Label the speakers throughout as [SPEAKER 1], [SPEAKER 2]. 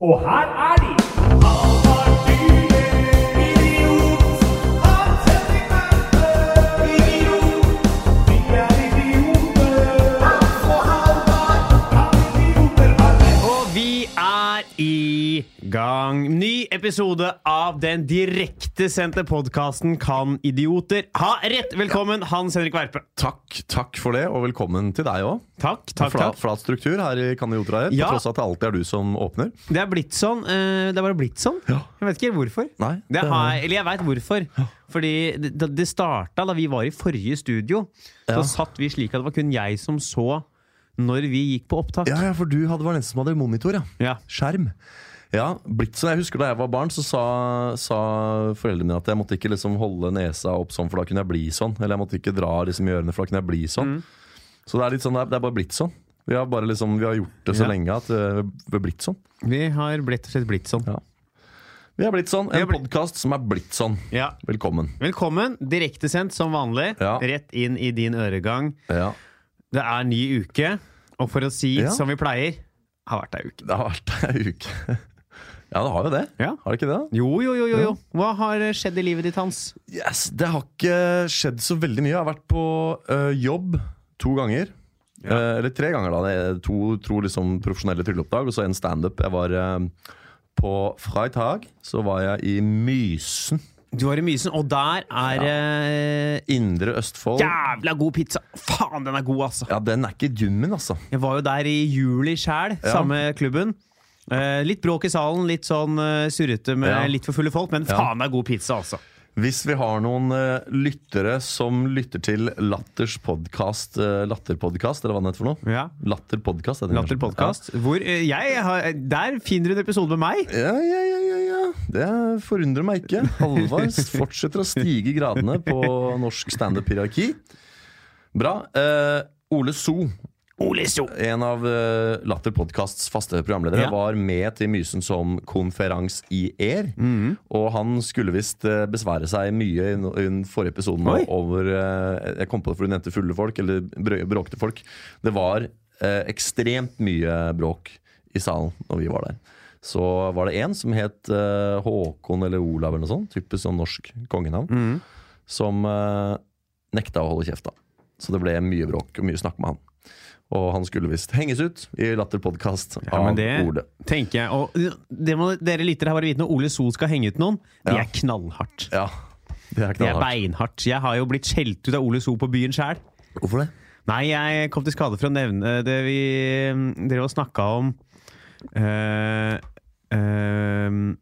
[SPEAKER 1] Og her er de!
[SPEAKER 2] Og vi er i gang. Ny episode av den direktesendte podkasten Kan idioter ha rett? Velkommen, Hans Henrik Verpe.
[SPEAKER 3] Takk, takk for det, og velkommen til deg òg.
[SPEAKER 2] Takk, takk,
[SPEAKER 3] Flat,
[SPEAKER 2] takk.
[SPEAKER 3] flat struktur her i Kaniotra her,
[SPEAKER 2] Ja.
[SPEAKER 3] på tross av at det alltid er du som åpner.
[SPEAKER 2] Det er blitt sånn. eh, Det er bare blitt sånn.
[SPEAKER 3] Ja.
[SPEAKER 2] Jeg vet ikke helt hvorfor.
[SPEAKER 3] Nei,
[SPEAKER 2] det
[SPEAKER 3] det er-
[SPEAKER 2] har, eller jeg veit hvorfor. Fordi det, da det starta da vi var i forrige studio. Så
[SPEAKER 3] Ja.
[SPEAKER 2] satt vi slik at det var kun jeg som så når vi gikk på opptak.
[SPEAKER 3] Ja, ja, for du hadde var den som hadde monitor, ja.
[SPEAKER 2] Ja.
[SPEAKER 3] Skjerm. Ja, blitt som jeg husker Da jeg var barn, så sa, sa foreldrene mine at jeg måtte ikke liksom holde nesa opp sånn, for da kunne jeg bli sånn. Eller jeg måtte ikke dra liksom i ørene, for da kunne jeg bli sånn. Så det er litt sånn, det er- det er bare blitt sånn. Vi har, bare liksom, vi har gjort det så
[SPEAKER 2] Ja.
[SPEAKER 3] lenge at eh, vi har blitt sånn.
[SPEAKER 2] Vi har blitt og slett blitt sånn.
[SPEAKER 3] Ja. Vi har blitt sånn.
[SPEAKER 2] har
[SPEAKER 3] En
[SPEAKER 2] blitt-
[SPEAKER 3] podkast som er blitt sånn.
[SPEAKER 2] Ja.
[SPEAKER 3] Velkommen.
[SPEAKER 2] Velkommen. Direktesendt som vanlig.
[SPEAKER 3] Ja.
[SPEAKER 2] Rett inn i din øregang.
[SPEAKER 3] Ja.
[SPEAKER 2] Det er ny uke, og for å si
[SPEAKER 3] Ja.
[SPEAKER 2] som vi pleier har vært ei uke.
[SPEAKER 3] Det har vært ei uke. Ja, det har jo det.
[SPEAKER 2] Ja.
[SPEAKER 3] Har det ikke det? da?
[SPEAKER 2] Jo, jo, jo, jo, jo. Hva har eh, skjedd i livet ditt, Hans?
[SPEAKER 3] Yes, Det har ikke skjedd så veldig mye. Jeg har vært på ø, jobb to ganger. Eh, eller tre ganger, da. Det er to to liksom, profesjonelle trylleoppdrag og så en standup. Jeg var eh, på Freitag, så var jeg i Mysen.
[SPEAKER 2] Du var i Mysen, sånn, og der er eh,
[SPEAKER 3] Indre Østfold.
[SPEAKER 2] jævla god pizza! Faen, den er god, altså!
[SPEAKER 3] Ja, den er ikke dum, altså.
[SPEAKER 2] Jeg var jo der i juli sjæl,
[SPEAKER 3] Ja.
[SPEAKER 2] samme klubben. Eh, litt bråk i salen, litt sånn eh, surrete med
[SPEAKER 3] Ja.
[SPEAKER 2] litt for fulle folk, men
[SPEAKER 3] Ja.
[SPEAKER 2] faen, det er god pizza, altså!
[SPEAKER 3] Hvis vi har noen eh, lyttere som lytter til Latters podkast, uh, Latterpodkast, eller hva det heter for noe?
[SPEAKER 2] Ja.
[SPEAKER 3] Latter podcast, heter den
[SPEAKER 2] Latter
[SPEAKER 3] kanskje.
[SPEAKER 2] podcast. Hvor eh, jeg har Der finner du en episode med meg!
[SPEAKER 3] Ja, ja, ja, ja, ja. Det forundrer meg ikke. Halvard fortsetter å stige i gradene på norsk standup-hierarki. Bra. Eh, Ole So,
[SPEAKER 2] Ole So!
[SPEAKER 3] en av eh, Latter Podkasts faste programledere,
[SPEAKER 2] Ja.
[SPEAKER 3] var med til Mysen som konferans i ER.
[SPEAKER 2] Mhm.
[SPEAKER 3] Og han skulle visst eh, besvære seg mye i no- i den forrige episoden nå
[SPEAKER 2] Oi.
[SPEAKER 3] over eh, Jeg kom på det fordi du nevnte fulle folk, eller brø- bråkete folk. Det var eh, ekstremt mye bråk i salen når vi var der. Så var det en som het eh, Håkon eller Olav eller noe sånt, typisk sånn norsk kongenavn,
[SPEAKER 2] Mhm.
[SPEAKER 3] som eh, nekta å holde kjeft. da Så det ble mye bråk og mye snakk med han. Og han skulle visst henges ut i Latter podkast
[SPEAKER 2] Ja,
[SPEAKER 3] av
[SPEAKER 2] men det
[SPEAKER 3] Ole.
[SPEAKER 2] tenker jeg. Og det må dere lyttere her bare vite når Ole So skal henge ut noen, det
[SPEAKER 3] Ja.
[SPEAKER 2] er knallhardt.
[SPEAKER 3] Ja, det
[SPEAKER 2] Det
[SPEAKER 3] er
[SPEAKER 2] er
[SPEAKER 3] knallhardt.
[SPEAKER 2] beinhardt. Jeg har jo blitt skjelt ut av Ole So på byen sjæl.
[SPEAKER 3] Hvorfor det?
[SPEAKER 2] Nei, jeg kom til skade for å nevne det vi mm, drev og snakka om eh, eh,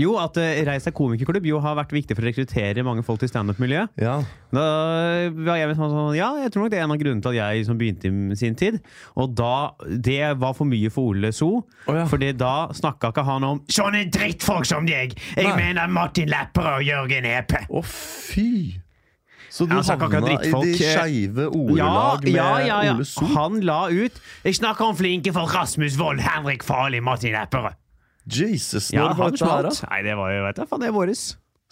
[SPEAKER 2] Jo, at eh, Reis deg komikerklubb jo har vært viktig for å rekruttere mange folk til standup-miljøet.
[SPEAKER 3] Ja,
[SPEAKER 2] Da var jeg sånn, sånn Ja, jeg tror nok det er en av grunnene til at jeg liksom begynte i sin tid. Og da Det var for mye for Ole So.
[SPEAKER 3] Å ja.
[SPEAKER 2] Fordi da snakka ikke han om sånne drittfolk som deg! Jeg
[SPEAKER 3] Nei.
[SPEAKER 2] mener Martin Lepperød og Jørgen Epe!
[SPEAKER 3] Å fy! Så du
[SPEAKER 2] Ja, så akkurat
[SPEAKER 3] havna i de
[SPEAKER 2] drittfolk, eh,
[SPEAKER 3] skeive ordelag med Ole So?
[SPEAKER 2] Han la ut Jeg snakker om flinke folk Rasmus Wold, Henrik Farli, Martin Lepperød.
[SPEAKER 3] Jesus, når
[SPEAKER 2] Ja,
[SPEAKER 3] var
[SPEAKER 2] han
[SPEAKER 3] dette her,
[SPEAKER 2] smalt.
[SPEAKER 3] da?
[SPEAKER 2] Nei, det var jo, vet du, faen, det er våres.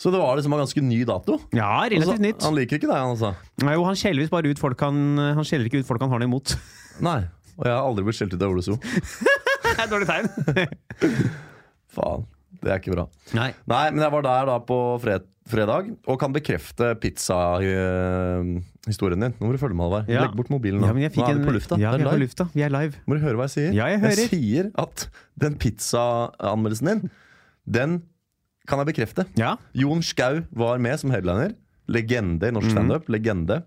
[SPEAKER 3] Så det var liksom en ganske ny dato?
[SPEAKER 2] Ja, relativt
[SPEAKER 3] Altså,
[SPEAKER 2] nytt.
[SPEAKER 3] Han liker ikke deg, han altså?
[SPEAKER 2] Nei, jo, han skjeller visst bare ut folk han Han skjeller ikke ut folk han har noe imot.
[SPEAKER 3] Nei. Og jeg har aldri blitt skjelt ut av Ole So.
[SPEAKER 2] Det er et Dårlig tegn.
[SPEAKER 3] Faen. Det er ikke bra.
[SPEAKER 2] Nei.
[SPEAKER 3] Nei, men jeg var der da på fred fredag, og kan bekrefte pizzahistorien din. Nå må du følge med, Halvard.
[SPEAKER 2] Ja.
[SPEAKER 3] Legg bort mobilen nå.
[SPEAKER 2] Ja, men jeg fikk
[SPEAKER 3] nå er
[SPEAKER 2] en-
[SPEAKER 3] vi på lufta.
[SPEAKER 2] Ja,
[SPEAKER 3] det
[SPEAKER 2] vi
[SPEAKER 3] er
[SPEAKER 2] er på
[SPEAKER 3] live.
[SPEAKER 2] lufta. Vi er live.
[SPEAKER 3] Må du høre hva jeg sier?
[SPEAKER 2] Ja, jeg hører.
[SPEAKER 3] sier at den pizzaanmeldelsen din, den kan jeg bekrefte.
[SPEAKER 2] Ja.
[SPEAKER 3] Jon Skau var med som headliner. Legende i
[SPEAKER 2] Mhm.
[SPEAKER 3] norsk standup. Legende.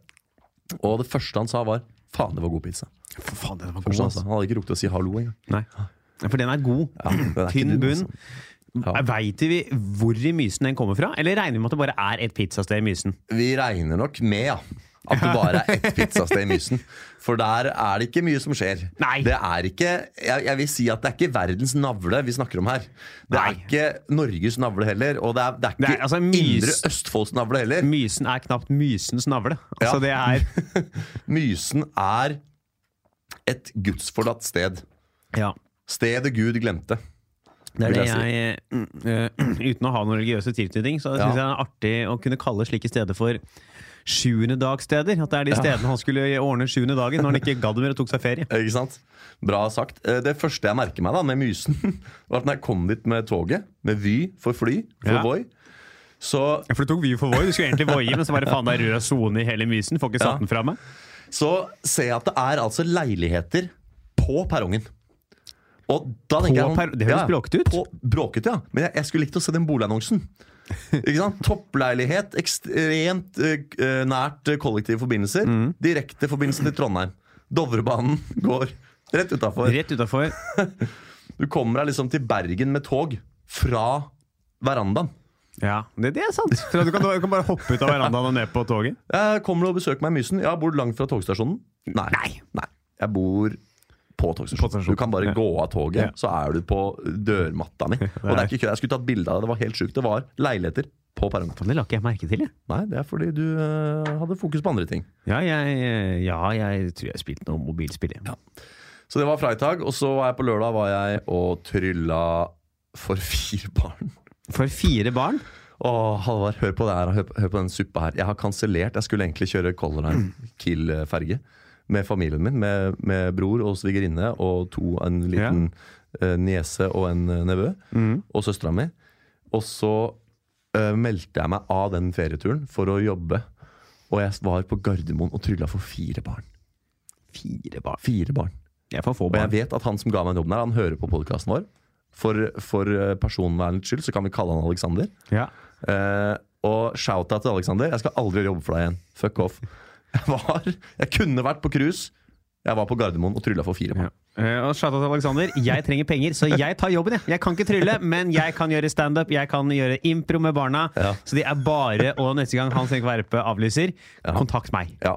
[SPEAKER 3] Og det første han sa, var 'faen, det var god pizza'.
[SPEAKER 2] For faen, den var god,
[SPEAKER 3] Første Han, sa.
[SPEAKER 2] altså.
[SPEAKER 3] han hadde ikke rukket å si hallo engang.
[SPEAKER 2] Nei. For den er god.
[SPEAKER 3] Ja, den er ikke
[SPEAKER 2] Tynn
[SPEAKER 3] dum,
[SPEAKER 2] bunn.
[SPEAKER 3] altså. Ja.
[SPEAKER 2] Veit vi hvor i Mysen den kommer fra, eller regner vi med at det bare er et pizzasted i Mysen?
[SPEAKER 3] Vi regner nok med ja, at det bare er ett pizzasted i Mysen. For der er det ikke mye som skjer.
[SPEAKER 2] Nei.
[SPEAKER 3] Det er ikke, jeg, jeg vil si at det er ikke verdens navle vi snakker om her. Det
[SPEAKER 2] Nei.
[SPEAKER 3] er ikke Norges navle heller, og det er, det er ikke
[SPEAKER 2] Det er, altså, Mys-
[SPEAKER 3] Indre Østfolds navle heller.
[SPEAKER 2] Mysen er knapt mysens navle. Altså,
[SPEAKER 3] Ja.
[SPEAKER 2] det er
[SPEAKER 3] Mysen er et gudsforlatt sted.
[SPEAKER 2] Ja.
[SPEAKER 3] Stedet Gud glemte.
[SPEAKER 2] Det er det
[SPEAKER 3] vil jeg si.
[SPEAKER 2] jeg, eh, mm, eh, uten å ha noen religiøse tilknytning, så syns jeg det er artig å kunne kalle slike steder for sjuendedagssteder. At det er de stedene han skulle ordne sjuende dagen når han ikke gadd mer og tok seg ferie.
[SPEAKER 3] Ikke sant? Bra sagt. Eh, Det første jeg merker meg da med Mysen, var at når jeg kom dit med toget, med Vy for fly, for
[SPEAKER 2] Ja.
[SPEAKER 3] Voi, så,
[SPEAKER 2] Ja, For du tok Vy for Voi. Du skulle egentlig voie, men så bare faen, det er rød sone i hele Mysen. Får ikke
[SPEAKER 3] Ja.
[SPEAKER 2] satt den fra meg.
[SPEAKER 3] så ser jeg at det er altså leiligheter på perrongen. Og da
[SPEAKER 2] På
[SPEAKER 3] tenker jeg sånn,
[SPEAKER 2] per- det høres bråkete ut.
[SPEAKER 3] På, bråkete, ja. Men jeg, jeg skulle likt å se den boligannonsen. Ikke sant? Toppleilighet, ekstremt eh, k- eh, nært eh, kollektive forbindelser.
[SPEAKER 2] Mm.
[SPEAKER 3] Direkte forbindelse til Trondheim. Dovrebanen går rett utafor.
[SPEAKER 2] Rett utafor.
[SPEAKER 3] Du kommer deg liksom til Bergen med tog fra verandaen.
[SPEAKER 2] Ja, det, det er sant. Så du, kan, du kan bare hoppe ut av verandaen og ned på toget.
[SPEAKER 3] Eh, kommer du og besøker meg i Mysen? Ja, bor du langt fra togstasjonen? Nei. Nei. Jeg bor på
[SPEAKER 2] På
[SPEAKER 3] togstasjonen.
[SPEAKER 2] togstasjonen.
[SPEAKER 3] Du kan bare
[SPEAKER 2] Ja.
[SPEAKER 3] gå av toget,
[SPEAKER 2] Ja.
[SPEAKER 3] så er du på dørmatta mi. Og det er ikke kø. Jeg skulle tatt bilde av det. Det var helt sjukt. Det var leiligheter på perrongen.
[SPEAKER 2] Faen, det la ikke jeg merke til, jeg.
[SPEAKER 3] Nei, det er fordi du eh, hadde fokus på andre ting.
[SPEAKER 2] Ja, jeg, eh, ja, jeg tror jeg spilte noe mobilspill. jeg.
[SPEAKER 3] Så det var fredag, og så var jeg på lørdag var jeg og trylla for fire barn.
[SPEAKER 2] For fire barn?
[SPEAKER 3] Åh, Halvard, hør på det her. Hør på, hør på den suppa her. Jeg har kansellert. Jeg skulle egentlig kjøre Color Line Kiel-ferge med familien min. Med, med bror og svigerinne og to, en liten eh, niese og en eh, nevø. Og søstera mi. Og så eh, meldte jeg meg av den ferieturen for å jobbe. Og jeg var på Gardermoen og trylla for fire barn.
[SPEAKER 2] Fire barn.
[SPEAKER 3] Fire barn.
[SPEAKER 2] Jeg får få
[SPEAKER 3] Og jeg
[SPEAKER 2] barn.
[SPEAKER 3] vet at han som ga meg den jobben her, han hører på podkasten vår. For, for eh, personvernets skyld så kan vi kalle han Alexander.
[SPEAKER 2] Ja.
[SPEAKER 3] Eh, og shout-out til Alexander. Jeg skal aldri jobbe for deg igjen. Fuck off. Jeg var Jeg kunne vært på cruise. Jeg var på Gardermoen og trylla for
[SPEAKER 2] Ja.
[SPEAKER 3] fire mann.
[SPEAKER 2] Eh, og shout-out til Alexander. Jeg trenger penger, så jeg tar jobben. Jeg, jeg kan ikke trylle, men jeg kan gjøre standup, jeg kan gjøre impro med barna.
[SPEAKER 3] Ja.
[SPEAKER 2] Så de er bare Og neste gang Hans Erik Verpe avlyser, kontakt meg.
[SPEAKER 3] Ja.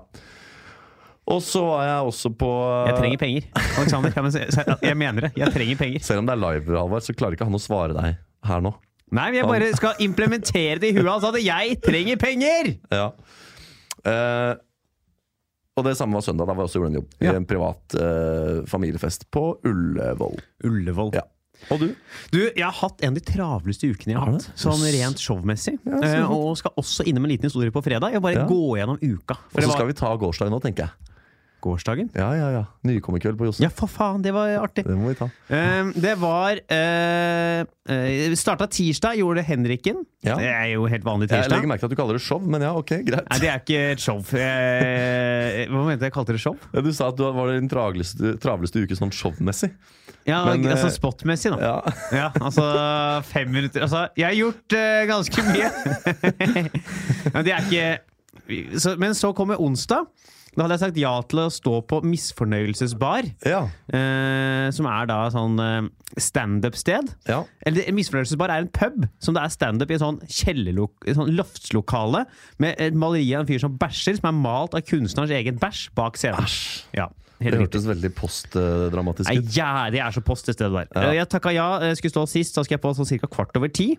[SPEAKER 3] Og så var jeg også på
[SPEAKER 2] Jeg trenger penger. Alexander, ja, men se- se- jeg mener det. Jeg trenger penger.
[SPEAKER 3] Selv om det er live, Halvard, så klarer ikke han å svare deg her nå.
[SPEAKER 2] Nei, men jeg bare skal implementere det i huet hans at jeg trenger penger!
[SPEAKER 3] Ja. Eh, og det samme var søndag. Da var jeg også gjorde en jobb.
[SPEAKER 2] Ja.
[SPEAKER 3] I en privat eh, familiefest på Ullevål.
[SPEAKER 2] Ullevål.
[SPEAKER 3] Ja. Og du?
[SPEAKER 2] Du, jeg har hatt en av de travleste ukene jeg har hatt, sånn rent showmessig. Eh, og skal også innom en liten historie på fredag. Jeg bare
[SPEAKER 3] Ja.
[SPEAKER 2] gå gjennom uka.
[SPEAKER 3] Og
[SPEAKER 2] For
[SPEAKER 3] så
[SPEAKER 2] det
[SPEAKER 3] skal
[SPEAKER 2] var
[SPEAKER 3] vi ta gårsdag nå, tenker jeg.
[SPEAKER 2] gårsdagen.
[SPEAKER 3] Ja, ja, ja. Nykommerkveld på Josse.
[SPEAKER 2] Ja, for faen, det var artig.
[SPEAKER 3] Det må vi ta.
[SPEAKER 2] Eh, det var eh, eh, Starta tirsdag, gjorde det Henriken.
[SPEAKER 3] Ja.
[SPEAKER 2] Det er jo helt vanlig
[SPEAKER 3] Jeg legger
[SPEAKER 2] tirsdag.
[SPEAKER 3] merke til at du kaller det show, men ja, ok, greit.
[SPEAKER 2] Nei, det er ikke et show. Eh, hva mente jeg? jeg kalte det show?
[SPEAKER 3] Ja, Du sa at du var den tragleste, travleste uke sånn showmessig.
[SPEAKER 2] Ja,
[SPEAKER 3] Men, eh,
[SPEAKER 2] altså spotmessig, da.
[SPEAKER 3] Ja.
[SPEAKER 2] Ja, altså fem minutter Altså, jeg har gjort eh, ganske mye. men det er ikke så, Men så kommer onsdag. Da hadde jeg sagt ja til å stå på Misfornøyelsesbar,
[SPEAKER 3] ja.
[SPEAKER 2] eh, som er da sånn eh, standup-sted.
[SPEAKER 3] ja.
[SPEAKER 2] Eller en Misfornøyelsesbar er en pub som det er standup i en sånn, kjellerlok- i sånn loftslokale med et maleri av en fyr som bæsjer, som er malt av kunstnerens egen bæsj bak scenen.
[SPEAKER 3] Æsj.
[SPEAKER 2] Ja,
[SPEAKER 3] Det
[SPEAKER 2] helt riktig.
[SPEAKER 3] hørtes veldig postdramatisk
[SPEAKER 2] Nei,
[SPEAKER 3] ut.
[SPEAKER 2] ja, det er så post det stedet der. Eh, Jeg takka ja, eh, skulle stå sist, da skal jeg på sånn cirka kvart over ti.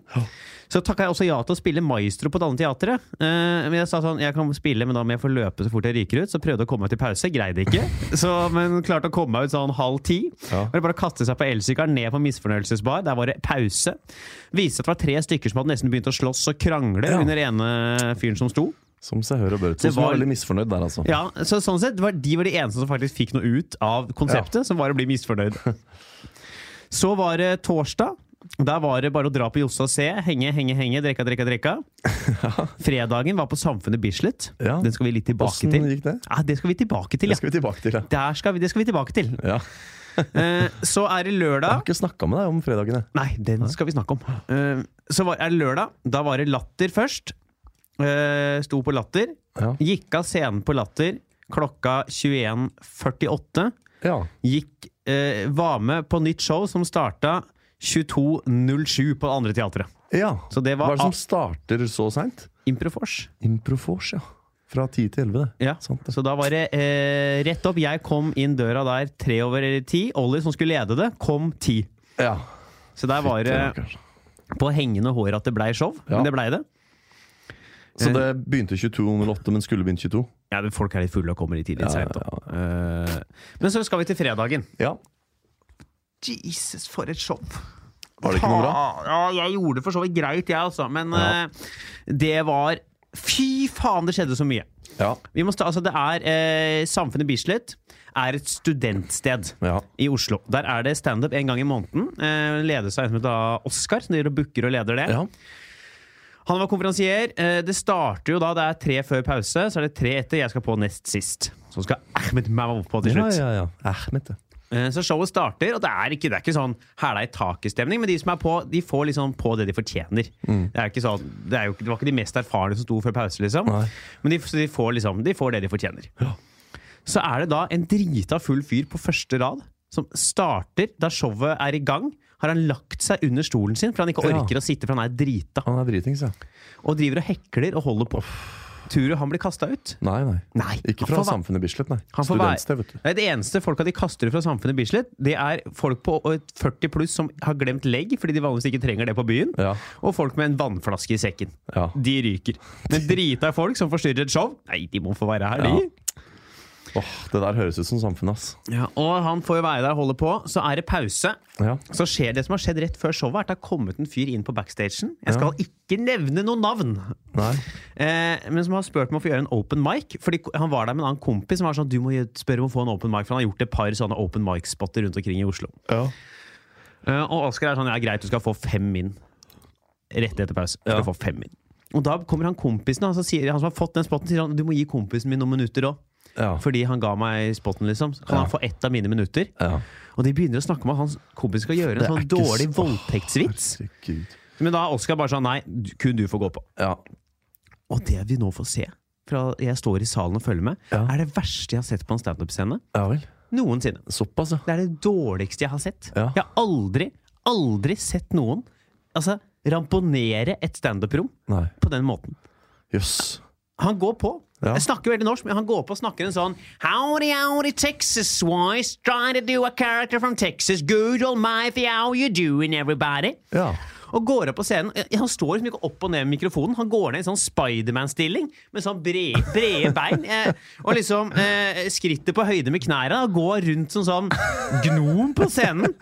[SPEAKER 2] Så takka jeg også ja til å spille maestro på Danneteatret. Eh, Men jeg sa sånn, jeg kan spille, men da må jeg få løpe så fort jeg ryker ut. Så prøvde jeg å komme meg til pause, greide ikke. Så, men klarte å komme meg ut sånn halv ti.
[SPEAKER 3] Ja.
[SPEAKER 2] Og det bare kaste seg på elsykkelen ned på misfornøyelsesbar. Der var det pause. Viste seg at det var tre stykker som hadde nesten begynt å slåss og krangle
[SPEAKER 3] Ja.
[SPEAKER 2] under ene fyren som sto.
[SPEAKER 3] Som seg hør og bør ut.
[SPEAKER 2] Det
[SPEAKER 3] Som var
[SPEAKER 2] var-
[SPEAKER 3] veldig misfornøyd der, altså.
[SPEAKER 2] Ja, så sånn sett var De var de eneste som faktisk fikk noe ut av konseptet, som var å bli misfornøyd. Så var det torsdag. Der var det bare å dra på Josse og se. Henge, henge, henge. Drekka, drekka, drekka. Fredagen var på Samfunnet Bislett.
[SPEAKER 3] Ja.
[SPEAKER 2] Den skal vi litt tilbake
[SPEAKER 3] Åssen
[SPEAKER 2] til.
[SPEAKER 3] gikk det?
[SPEAKER 2] Ja, det skal vi tilbake til, ja.
[SPEAKER 3] Det skal vi tilbake til. Ja.
[SPEAKER 2] Der skal vi, det skal vi tilbake til.
[SPEAKER 3] Ja.
[SPEAKER 2] Eh, så er det
[SPEAKER 3] Jeg har
[SPEAKER 2] lørdag.
[SPEAKER 3] ikke snakka med deg om fredagene.
[SPEAKER 2] Nei, den skal vi snakke om. Eh, så var, er det lørdag. Da var det Latter først. Eh, sto på Latter.
[SPEAKER 3] Ja.
[SPEAKER 2] Gikk av scenen på Latter klokka 21.48.
[SPEAKER 3] ja.
[SPEAKER 2] Gikk, eh, var med på nytt show som starta 22.07 på det andre teatret.
[SPEAKER 3] ja.
[SPEAKER 2] Så det
[SPEAKER 3] Hva
[SPEAKER 2] var
[SPEAKER 3] er det som starter så seint?
[SPEAKER 2] av- Improfors.
[SPEAKER 3] Improfors, ja. Fra 10 til 11, det.
[SPEAKER 2] Ja.
[SPEAKER 3] Sant det.
[SPEAKER 2] Så da var det eh, rett opp. Jeg kom inn døra der tre over ti. Ollie, som skulle lede det, kom ti.
[SPEAKER 3] Ja.
[SPEAKER 2] Så der var det på hengende hår at det blei show.
[SPEAKER 3] Ja.
[SPEAKER 2] Men det blei det. Eh.
[SPEAKER 3] Så det begynte 22.08, men skulle begynt 22.
[SPEAKER 2] Ja, men Folk er litt fulle og kommer litt tidlig.
[SPEAKER 3] Ja,
[SPEAKER 2] sent, da. Eh, men så skal vi til fredagen.
[SPEAKER 3] Ja.
[SPEAKER 2] Jesus, for et show!
[SPEAKER 3] Var det ikke noe bra?
[SPEAKER 2] Ja, jeg gjorde det for så vidt greit, jeg, altså. Men
[SPEAKER 3] Ja.
[SPEAKER 2] eh, det var Fy faen, det skjedde så mye!
[SPEAKER 3] Ja.
[SPEAKER 2] Vi må sta, altså det er eh, Samfunnet Bislett er et studentsted
[SPEAKER 3] Ja.
[SPEAKER 2] i Oslo. Der er det standup en gang i måneden. Eh, ledes av en som heter Oskar, som driver og booker og leder det.
[SPEAKER 3] ja.
[SPEAKER 2] Han var konferansier. Eh, det starter jo da, det er tre før pause, så er det tre etter. Jeg skal på nest sist. Så skal Ahmed Maw på til
[SPEAKER 3] Ja,
[SPEAKER 2] slutt.
[SPEAKER 3] ja, ja. Ahmed, ja.
[SPEAKER 2] Eh, Så showet starter, og det er ikke, det er ikke sånn hæla i taket-stemning. Men de som er på, de får liksom på det de fortjener.
[SPEAKER 3] Mm.
[SPEAKER 2] Det, er ikke sånn, det, er jo, ikke- det var ikke de mest erfarne som sto før pause, liksom.
[SPEAKER 3] Nei.
[SPEAKER 2] Men de, så de, får liksom, de får det de fortjener. Så er det da en drita full fyr på første rad som starter da showet er i gang. Har han lagt seg under stolen sin, for han ikke
[SPEAKER 3] Ja.
[SPEAKER 2] orker å sitte, for han er drita.
[SPEAKER 3] Han er dritings, ja.
[SPEAKER 2] Og driver og hekler og holder på. Tror du han blir kasta ut?
[SPEAKER 3] Nei, nei.
[SPEAKER 2] Nei. han
[SPEAKER 3] Ikke fra
[SPEAKER 2] får være-
[SPEAKER 3] Samfunnet Bislett, nei.
[SPEAKER 2] han får være-
[SPEAKER 3] Studentsted, vet du.
[SPEAKER 2] Nei, det eneste folka de kaster ut fra samfunnet Bislett, det er folk på 40 pluss som har glemt legg, fordi de vanligvis ikke trenger det på byen.
[SPEAKER 3] Ja.
[SPEAKER 2] Og folk med en vannflaske i sekken.
[SPEAKER 3] Ja.
[SPEAKER 2] De ryker. Men drita folk som forstyrrer et show, nei, de må få være her,
[SPEAKER 3] Ja.
[SPEAKER 2] de.
[SPEAKER 3] Åh, det der høres ut som Samfunnet, ass.
[SPEAKER 2] Ja, og han får jo være der og holde på. Så er det pause.
[SPEAKER 3] Ja.
[SPEAKER 2] Så skjer det som har skjedd rett før showet, er at det har kommet en fyr inn på backstagen. Jeg skal ikke nevne noe navn,
[SPEAKER 3] Nei.
[SPEAKER 2] eh, men som har spurt om å få gjøre en open mic. Fordi ko- Han var der med en annen kompis som var sånn du må gjø- spørre om å få en open mic, for han har gjort et par sånne open mic-spotter rundt omkring i Oslo.
[SPEAKER 3] Ja.
[SPEAKER 2] Eh, og Oskar er sånn ja, greit, du skal få fem min. Rett etter pause. Du skal
[SPEAKER 3] Ja.
[SPEAKER 2] få fem min. Og da kommer han kompisen, han som, sier, han som har fått den spotten, sier han du må gi kompisen min noen minutter òg.
[SPEAKER 3] Ja.
[SPEAKER 2] Fordi han ga meg spotten, liksom. Så kan
[SPEAKER 3] Ja.
[SPEAKER 2] han få ett av mine minutter?
[SPEAKER 3] ja.
[SPEAKER 2] Og de begynner å snakke om at hans kompis skal gjøre
[SPEAKER 3] Det
[SPEAKER 2] en
[SPEAKER 3] er
[SPEAKER 2] sånn
[SPEAKER 3] ikke
[SPEAKER 2] dårlig
[SPEAKER 3] så-
[SPEAKER 2] voldtektsvits.
[SPEAKER 3] Herregud.
[SPEAKER 2] Men da er Oskar bare sånn nei, du- kun du får gå på.
[SPEAKER 3] Ja.
[SPEAKER 2] Og det vi nå får se, fra jeg står i salen og følger med,
[SPEAKER 3] Ja.
[SPEAKER 2] er det verste jeg har sett på en standup-scene
[SPEAKER 3] ja vel.
[SPEAKER 2] noensinne.
[SPEAKER 3] Såpass, ja.
[SPEAKER 2] Det er det dårligste jeg har sett.
[SPEAKER 3] Ja.
[SPEAKER 2] Jeg har aldri, aldri sett noen altså, ramponere et standup-rom
[SPEAKER 3] Nei.
[SPEAKER 2] på den måten.
[SPEAKER 3] Jøss.
[SPEAKER 2] Han går på.
[SPEAKER 3] Ja.
[SPEAKER 2] Jeg snakker veldig norsk, men han går på og snakker en sånn Howdy, howdy, Texas wise, trying to do a character from Texas. Good almighty, how you doing, everybody?
[SPEAKER 3] Ja.
[SPEAKER 2] Og går opp på scenen. Eh, Han står liksom ikke opp og ned med mikrofonen. Han går ned i sånn Spiderman-stilling med sånn brede, brede bein. Eh, og liksom eh, skrittet på høyde med knærne og går rundt som sånn gnom på scenen.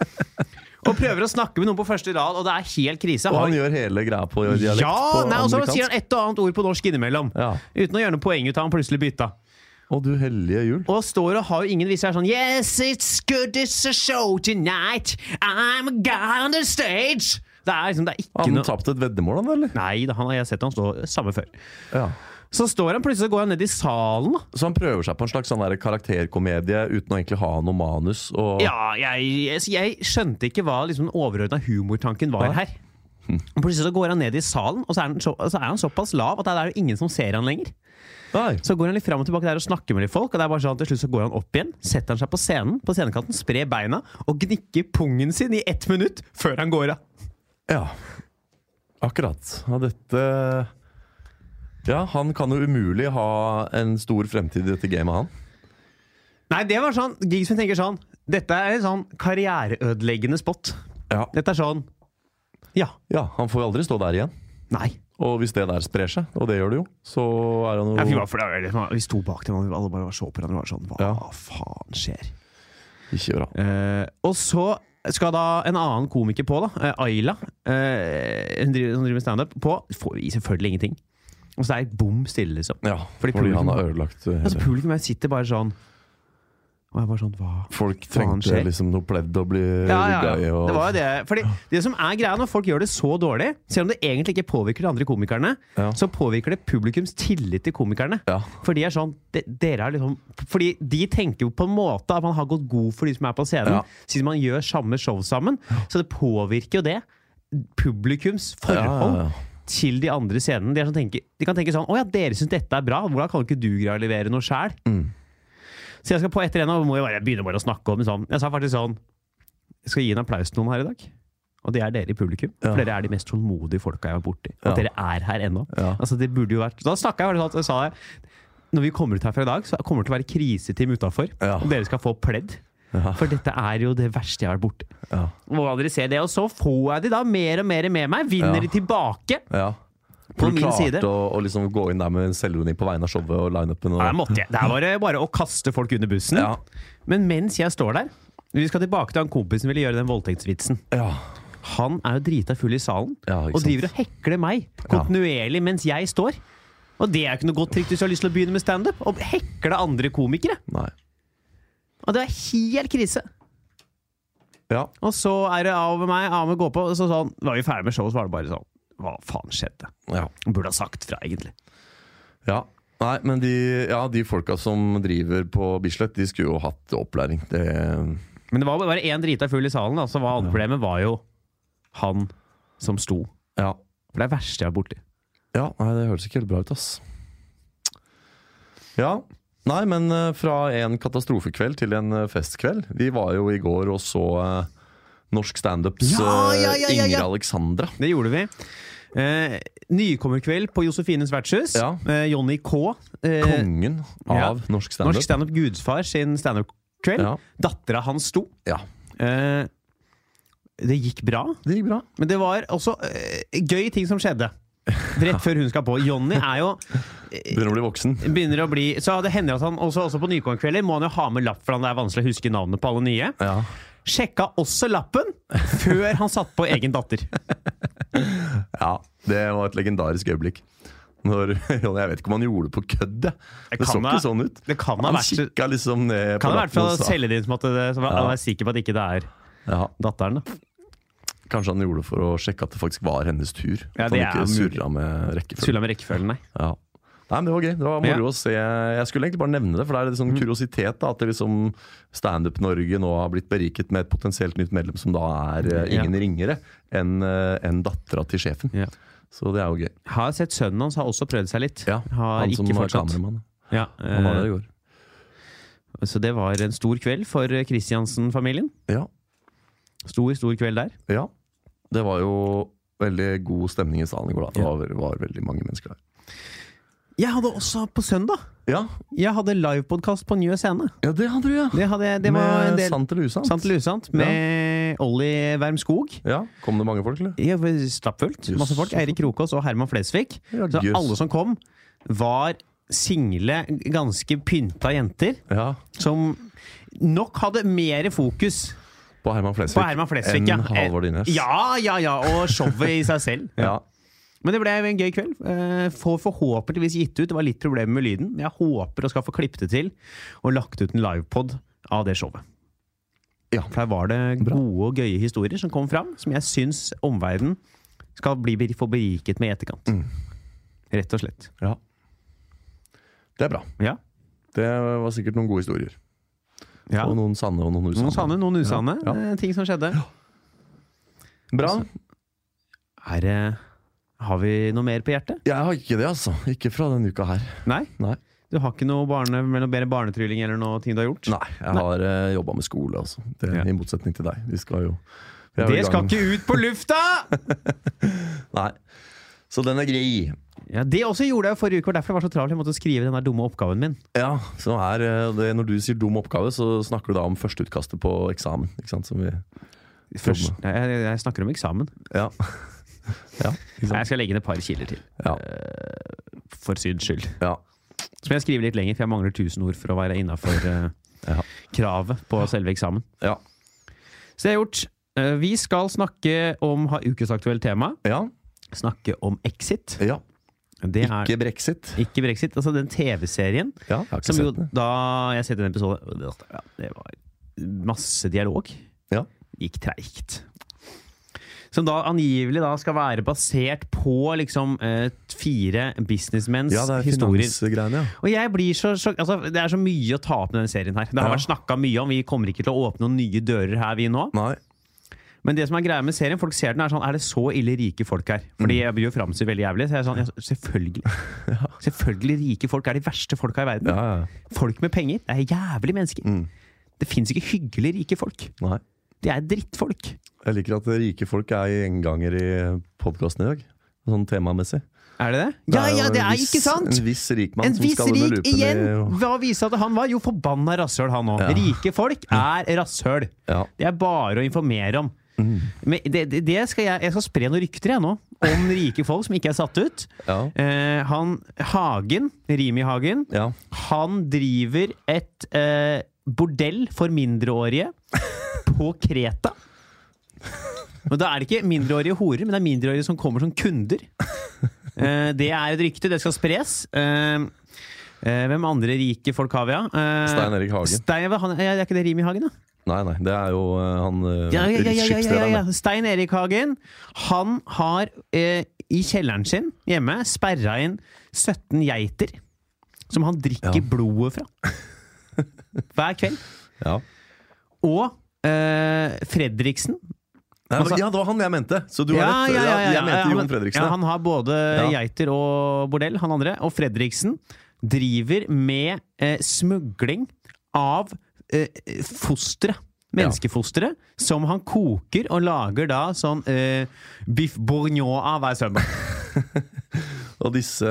[SPEAKER 2] Og prøver å snakke med noen på første rad, og det er helt krise.
[SPEAKER 3] Og
[SPEAKER 2] Har-
[SPEAKER 3] han gjør hele greia på dialekt
[SPEAKER 2] ja,
[SPEAKER 3] på
[SPEAKER 2] nei, og så
[SPEAKER 3] amerikansk.
[SPEAKER 2] sier han et og annet ord på norsk innimellom.
[SPEAKER 3] Ja.
[SPEAKER 2] Uten å gjøre noe poeng ut av han plutselig bytta.
[SPEAKER 3] Å, du hellige jul.
[SPEAKER 2] Og står og har jo ingen viser er sånn Yes, it's good, it's a show tonight. I'm a guy on the stage. Det er liksom, det er ikke
[SPEAKER 3] Han
[SPEAKER 2] noe
[SPEAKER 3] tapte et veddemål, han, eller?
[SPEAKER 2] Nei, da, han har jeg sett han stå samme før.
[SPEAKER 3] Ja.
[SPEAKER 2] Så står han plutselig og går han ned i salen. da.
[SPEAKER 3] Så han prøver seg på en slags sånn der karakterkomedie uten å egentlig ha noe manus. Og...
[SPEAKER 2] Ja, jeg, jeg, jeg skjønte ikke hva liksom, den overordna humortanken var
[SPEAKER 3] Nei.
[SPEAKER 2] her. Og Plutselig så går han ned i salen, og så er han, så, så er han såpass lav at det er jo ingen som ser han lenger.
[SPEAKER 3] Nei.
[SPEAKER 2] Så går han litt fram og tilbake der og snakker med litt folk, og det er bare sånn til slutt så går han opp igjen, setter han seg på scenen, på scenekanten, sprer beina og gnikker pungen sin i ett minutt før han går av.
[SPEAKER 3] Ja, akkurat. Ja, dette Ja, han kan jo umulig ha en stor fremtid i dette gamet, han.
[SPEAKER 2] Nei, det var sånn gig som tenker sånn Dette er en sånn karriereødeleggende spot.
[SPEAKER 3] Ja.
[SPEAKER 2] Dette er sånn Ja.
[SPEAKER 3] ja, Han får jo aldri stå der igjen.
[SPEAKER 2] Nei.
[SPEAKER 3] Og hvis det der sprer seg, og det gjør det jo, så er han jo
[SPEAKER 2] Ja, fy, hva for det var liksom, vi sto bak dem, og vi alle bare så på hverandre og var sånn Hva
[SPEAKER 3] Ja.
[SPEAKER 2] faen skjer?
[SPEAKER 3] ikke bra.
[SPEAKER 2] Eh, og så skal da en annen komiker på, da. eh, Ayla. eh, hun driver, som driver med standup. På. Får vi selvfølgelig ingenting. Og så er det bom stille, liksom.
[SPEAKER 3] Ja,
[SPEAKER 2] Fordi
[SPEAKER 3] fordi,
[SPEAKER 2] publikum-
[SPEAKER 3] han har ødelagt eh,
[SPEAKER 2] Altså, publikum her sitter bare sånn Og jeg bare sånn Hva?
[SPEAKER 3] Folk
[SPEAKER 2] faen
[SPEAKER 3] trengte
[SPEAKER 2] skjer?
[SPEAKER 3] liksom noe pledd å bli
[SPEAKER 2] Ja, ja,
[SPEAKER 3] rugga i.
[SPEAKER 2] ja.
[SPEAKER 3] Og...
[SPEAKER 2] Det var jo det. Fordi det som er greia når folk gjør det så dårlig, selv om det egentlig ikke påvirker de andre komikerne,
[SPEAKER 3] Ja.
[SPEAKER 2] så påvirker det publikums tillit til komikerne.
[SPEAKER 3] Ja.
[SPEAKER 2] For de er sånn de, dere er liksom, Fordi de tenker jo på en måte at man har gått god for de som er på scenen,
[SPEAKER 3] Ja.
[SPEAKER 2] siden man gjør samme show sammen. Så det påvirker jo det. Publikums
[SPEAKER 3] Ja,
[SPEAKER 2] forhold
[SPEAKER 3] ja, ja.
[SPEAKER 2] til de andre scenene. De, er sånn tenker, de kan tenke sånn Å ja, dere syns dette er bra. Hvordan kan ikke du greie å levere noe sjæl?
[SPEAKER 3] Mm.
[SPEAKER 2] Så jeg skal på etter en, og må jeg bare begynne bare å snakke om sånn. Jeg sa faktisk sånn Jeg skal gi en applaus til noen her i dag. Og det er dere i publikum. For
[SPEAKER 3] Ja.
[SPEAKER 2] dere er de mest tålmodige folka jeg har vært borti. Og
[SPEAKER 3] Ja.
[SPEAKER 2] dere er her ennå.
[SPEAKER 3] Ja.
[SPEAKER 2] Altså, det burde jo vært Da snakka jeg bare sånn, så sa jeg når vi kommer ut herfra i dag, så kommer det til å være kriseteam utafor.
[SPEAKER 3] Ja.
[SPEAKER 2] Og dere skal få pledd.
[SPEAKER 3] Ja.
[SPEAKER 2] For dette er jo det verste jeg har vært borti.
[SPEAKER 3] Ja.
[SPEAKER 2] Og dere ser det, og så får jeg de da mer og mer med meg. Vinner
[SPEAKER 3] Ja.
[SPEAKER 2] de tilbake.
[SPEAKER 3] ja.
[SPEAKER 2] På
[SPEAKER 3] Du
[SPEAKER 2] min
[SPEAKER 3] klarte
[SPEAKER 2] side.
[SPEAKER 3] Å, å liksom gå inn der med en selvironi på vegne av showet og lineupen.
[SPEAKER 2] Ja, det
[SPEAKER 3] Og...
[SPEAKER 2] måtte jeg. Det her var det bare å kaste folk under bussen.
[SPEAKER 3] Ja.
[SPEAKER 2] Men mens jeg står der Vi skal tilbake til han kompisen som ville gjøre den voldtektsvitsen.
[SPEAKER 3] Ja.
[SPEAKER 2] Han er jo drita full i salen
[SPEAKER 3] Ja, ikke
[SPEAKER 2] og
[SPEAKER 3] sant.
[SPEAKER 2] driver og hekler meg kontinuerlig mens jeg står. Og det er jo ikke noe godt triks hvis du har lyst til å begynne med standup. Å hekle andre komikere.
[SPEAKER 3] Nei.
[SPEAKER 2] Og det er helt krise.
[SPEAKER 3] Ja.
[SPEAKER 2] Og så er det av med meg, av med gå på. Og så sånn, var vi ferdig med showet, så var det bare sånn Hva faen skjedde?
[SPEAKER 3] Ja.
[SPEAKER 2] Burde ha sagt fra, egentlig.
[SPEAKER 3] ja. Nei, men de, ja, de folka som driver på Bislett, de skulle jo hatt opplæring. Det,
[SPEAKER 2] Men det var bare én drita full i salen, da, så hva annet problemet var jo han som sto.
[SPEAKER 3] ja.
[SPEAKER 2] For det er det verste jeg har vært borti.
[SPEAKER 3] ja. Nei, det høres ikke helt bra ut, ass. Ja. Nei, men eh, fra en katastrofekveld til en eh, festkveld. Vi var jo i går og så eh, norsk standups
[SPEAKER 2] Ja, ja,
[SPEAKER 3] eh,
[SPEAKER 2] ja, ja, ja.
[SPEAKER 3] Ingrid Alexandra.
[SPEAKER 2] Det gjorde vi. Eh, nykommerkveld på Josefines vertshus.
[SPEAKER 3] Ja.
[SPEAKER 2] Eh, Jonny K. Eh,
[SPEAKER 3] Kongen
[SPEAKER 2] ja.
[SPEAKER 3] av norsk
[SPEAKER 2] norsk
[SPEAKER 3] standup.
[SPEAKER 2] standup Gudsfar sin standup-kveld.
[SPEAKER 3] Ja.
[SPEAKER 2] Dattera hans sto.
[SPEAKER 3] ja.
[SPEAKER 2] Eh, det gikk bra,
[SPEAKER 3] Det gikk bra.
[SPEAKER 2] men det var også eh, gøy ting som skjedde. Rett før hun skal på. Jonny er jo
[SPEAKER 3] Begynner å bli voksen.
[SPEAKER 2] begynner å bli Så det hender at han også, også på nykommerkvelder må han jo ha med lapp, for han- det er vanskelig å huske navnet på alle nye.
[SPEAKER 3] Ja.
[SPEAKER 2] Sjekka også lappen før han satt på egen datter.
[SPEAKER 3] Ja, det var et legendarisk øyeblikk. Når, Johnny, jeg vet ikke om han gjorde det på kødd. jeg.
[SPEAKER 2] Det
[SPEAKER 3] Det så
[SPEAKER 2] kan
[SPEAKER 3] ikke
[SPEAKER 2] ha-
[SPEAKER 3] sånn ut.
[SPEAKER 2] Det kan ha
[SPEAKER 3] Han
[SPEAKER 2] vært
[SPEAKER 3] kikka liksom ned
[SPEAKER 2] Kan
[SPEAKER 3] på
[SPEAKER 2] ha vært for
[SPEAKER 3] lappen
[SPEAKER 2] å
[SPEAKER 3] og sa-
[SPEAKER 2] selge det inn som at det, så var, han er sikker på at ikke det er
[SPEAKER 3] Ja,
[SPEAKER 2] datteren. Da.
[SPEAKER 3] Kanskje han gjorde det for å sjekke at det faktisk var hennes tur.
[SPEAKER 2] Ja,
[SPEAKER 3] at
[SPEAKER 2] det er
[SPEAKER 3] han ikke surra med rekkefølge.
[SPEAKER 2] Tulla med rekkefølgen, nei.
[SPEAKER 3] Ja. Nei, men Det var gøy. Det var
[SPEAKER 2] Ja. Mm.
[SPEAKER 3] moro å se. Jeg skulle egentlig bare nevne det, for det er litt sånn kuriositet da, at det liksom Standup Norge nå har blitt beriket med et potensielt nytt medlem som da er eh,
[SPEAKER 2] Ja.
[SPEAKER 3] ingen ringere enn en dattera til sjefen.
[SPEAKER 2] Ja.
[SPEAKER 3] Så det er jo gøy.
[SPEAKER 2] Har sett sønnen hans, har også prøvd seg litt.
[SPEAKER 3] Ja,
[SPEAKER 2] har
[SPEAKER 3] han som
[SPEAKER 2] ikke
[SPEAKER 3] var
[SPEAKER 2] fortsatt.
[SPEAKER 3] kameramann.
[SPEAKER 2] Ja,
[SPEAKER 3] Han var der
[SPEAKER 2] eh,
[SPEAKER 3] i går.
[SPEAKER 2] så det var en stor kveld for Kristiansen-familien.
[SPEAKER 3] Ja.
[SPEAKER 2] Stor, stor kveld der.
[SPEAKER 3] Ja. Det var jo veldig god stemning i salen i går. da Det
[SPEAKER 2] Ja.
[SPEAKER 3] var, var veldig mange mennesker der.
[SPEAKER 2] Jeg hadde også på søndag
[SPEAKER 3] Ja,
[SPEAKER 2] Jeg hadde livepodkast på Njø scene.
[SPEAKER 3] det hadde du, ja!
[SPEAKER 2] Det, hadde, jeg- det var en
[SPEAKER 3] Med
[SPEAKER 2] del
[SPEAKER 3] sant eller usant.
[SPEAKER 2] Sant eller usant? Med Olli Wermskog.
[SPEAKER 3] Ja, Kom det mange folk, eller?
[SPEAKER 2] Ja, Stappfullt.
[SPEAKER 3] Jøss.
[SPEAKER 2] Masse folk. Eirik Krokås og Herman Flesvig.
[SPEAKER 3] Ja,
[SPEAKER 2] Så
[SPEAKER 3] jøss.
[SPEAKER 2] alle som kom, var single, ganske pynta jenter.
[SPEAKER 3] Ja,
[SPEAKER 2] Som nok hadde mer fokus
[SPEAKER 3] På Herman Flesvig.
[SPEAKER 2] på Herman Flesvig.
[SPEAKER 3] enn
[SPEAKER 2] ja.
[SPEAKER 3] Halvor Dines.
[SPEAKER 2] Ja, ja, ja. Og showet i seg selv.
[SPEAKER 3] Ja.
[SPEAKER 2] Men det ble en gøy kveld. Eh, Får forhåpentligvis gitt ut. Det var litt problemer med lyden. Men jeg håper å skal få klippet det til og lagt ut en livepod av det showet.
[SPEAKER 3] Ja.
[SPEAKER 2] For her var det
[SPEAKER 3] Bra.
[SPEAKER 2] gode og gøye historier som kom fram, som jeg syns omverdenen skal bli, få beriket med i etterkant. Rett og slett.
[SPEAKER 3] Mm. ja. Det er bra.
[SPEAKER 2] Ja.
[SPEAKER 3] Det var sikkert noen gode historier.
[SPEAKER 2] ja.
[SPEAKER 3] Og noen sanne og noen
[SPEAKER 2] Noen
[SPEAKER 3] usanne.
[SPEAKER 2] sanne, noen usanne
[SPEAKER 3] Ja.
[SPEAKER 2] eh, ting som skjedde.
[SPEAKER 3] Bra.
[SPEAKER 2] Er det Har vi noe mer på hjertet?
[SPEAKER 3] Jeg har ikke det, altså. Ikke fra denne uka her.
[SPEAKER 2] Nei?
[SPEAKER 3] Nei.
[SPEAKER 2] Du har ikke noe barne, mellom bedre barnetrylling eller noe ting du har gjort?
[SPEAKER 3] Nei, jeg har uh, jobba med skole, altså. Det,
[SPEAKER 2] Ja.
[SPEAKER 3] I motsetning til deg. Vi skal jo vi er jo i
[SPEAKER 2] Det skal
[SPEAKER 3] gang.
[SPEAKER 2] ikke ut på lufta!
[SPEAKER 3] Nei. Så den er grei.
[SPEAKER 2] Ja, Det også gjorde jeg forrige uke, og derfor jeg var så travel. Jeg måtte skrive den der dumme oppgaven min.
[SPEAKER 3] Ja, så er eh, det, Når du sier dum oppgave, så snakker du da om førsteutkastet på eksamen. Ikke sant? Som vi,
[SPEAKER 2] Først, Nei, jeg, jeg snakker om eksamen.
[SPEAKER 3] ja. ja, ikke
[SPEAKER 2] Nei,
[SPEAKER 3] sant?
[SPEAKER 2] Jeg skal legge inn et par kilder til,
[SPEAKER 3] Ja,
[SPEAKER 2] for syns skyld.
[SPEAKER 3] ja,
[SPEAKER 2] Så må jeg skrive litt lenger, for jeg mangler 1000 ord for å være innafor eh,
[SPEAKER 3] Ja.
[SPEAKER 2] kravet på selve eksamen.
[SPEAKER 3] ja,
[SPEAKER 2] Så det er gjort. Eh, Vi skal snakke om ha ukesaktuelt tema.
[SPEAKER 3] ja,
[SPEAKER 2] Snakke om Exit.
[SPEAKER 3] ja.
[SPEAKER 2] Det er
[SPEAKER 3] Ikke brexit.
[SPEAKER 2] ikke brexit. Altså den TV-serien
[SPEAKER 3] Ja, jeg har ikke
[SPEAKER 2] som jo
[SPEAKER 3] sett den.
[SPEAKER 2] da Jeg har sett en episode, og det, ja, det var masse dialog.
[SPEAKER 3] Ja.
[SPEAKER 2] Gikk treigt. Som da angivelig da skal være basert på liksom eh, fire businessmenns
[SPEAKER 3] Ja, det er
[SPEAKER 2] historier.
[SPEAKER 3] finansgreiene, ja.
[SPEAKER 2] Og jeg blir så, sjokk- altså, Det er så mye å ta opp med denne serien her. Det har
[SPEAKER 3] Ja.
[SPEAKER 2] vært snakka mye om. Vi kommer ikke til å åpne noen nye dører her, vi nå.
[SPEAKER 3] Nei.
[SPEAKER 2] Men det som er greia med serien, folk ser den er sånn Er det så ille rike folk her?
[SPEAKER 3] Mm.
[SPEAKER 2] Fordi jeg blir jo framstilt veldig jævlig. Så jeg er sånn, ja, selvfølgelig. Selvfølgelig rike folk er de verste folka i verden.
[SPEAKER 3] Ja, ja, ja.
[SPEAKER 2] Folk med penger det er jævlig mennesker.
[SPEAKER 3] Mm.
[SPEAKER 2] Det fins ikke hyggelige rike folk.
[SPEAKER 3] Nei.
[SPEAKER 2] De er drittfolk.
[SPEAKER 3] Jeg liker at rike folk er gjenganger i podkasten i dag. Sånn temamessig.
[SPEAKER 2] Er det det?
[SPEAKER 3] Det
[SPEAKER 2] Ja,
[SPEAKER 3] er jo
[SPEAKER 2] ja, det
[SPEAKER 3] en
[SPEAKER 2] er
[SPEAKER 3] viss-
[SPEAKER 2] ikke sant!
[SPEAKER 3] En viss rikmann
[SPEAKER 2] En
[SPEAKER 3] som
[SPEAKER 2] viss
[SPEAKER 3] skal under
[SPEAKER 2] rik
[SPEAKER 3] lupen
[SPEAKER 2] igjen!
[SPEAKER 3] i
[SPEAKER 2] Hva viste at han var? Jo, forbanna rasshøl, han òg.
[SPEAKER 3] Ja. Mm.
[SPEAKER 2] Rike folk er rasshøl.
[SPEAKER 3] Ja.
[SPEAKER 2] Det er bare å informere om.
[SPEAKER 3] Mm.
[SPEAKER 2] Men det, det, det skal jeg, jeg skal spre noen rykter jeg nå om rike folk som ikke er satt ut.
[SPEAKER 3] Ja.
[SPEAKER 2] Eh, han Hagen, Rimi Hagen,
[SPEAKER 3] ja.
[SPEAKER 2] han driver et eh, bordell for mindreårige på Kreta. Og da er det ikke mindreårige horer, men det er mindreårige som kommer som kunder. Eh, det er et rykte, det skal spres. Eh, eh, hvem andre rike folk har vi, da? Eh,
[SPEAKER 3] Stein Erik Hagen.
[SPEAKER 2] Stein, hva- han, ja, det er ikke det Rimi Hagen, da?
[SPEAKER 3] Nei, nei, det er jo eh, han eh,
[SPEAKER 2] Ja, ja, ja, ja, ja, ja,
[SPEAKER 3] skipsrederen.
[SPEAKER 2] ja. Stein Erik Hagen Han har eh, i kjelleren sin hjemme sperra inn 17 geiter. Som han drikker
[SPEAKER 3] Ja.
[SPEAKER 2] blodet fra. Hver kveld.
[SPEAKER 3] Ja.
[SPEAKER 2] Og eh, Fredriksen.
[SPEAKER 3] Nei,
[SPEAKER 2] Altså-
[SPEAKER 3] ja, det var han jeg mente! Så du har rett. Ja, Jeg mente
[SPEAKER 2] han-
[SPEAKER 3] Jon Fredriksen.
[SPEAKER 2] Ja,
[SPEAKER 3] Ja,
[SPEAKER 2] han har både
[SPEAKER 3] Ja.
[SPEAKER 2] geiter og bordell, han andre. Og Fredriksen driver med eh, smugling av eh, fostre. Menneskefostre som han koker og lager da sånn eh, biff bourgnon av hver søndag.
[SPEAKER 3] Og disse,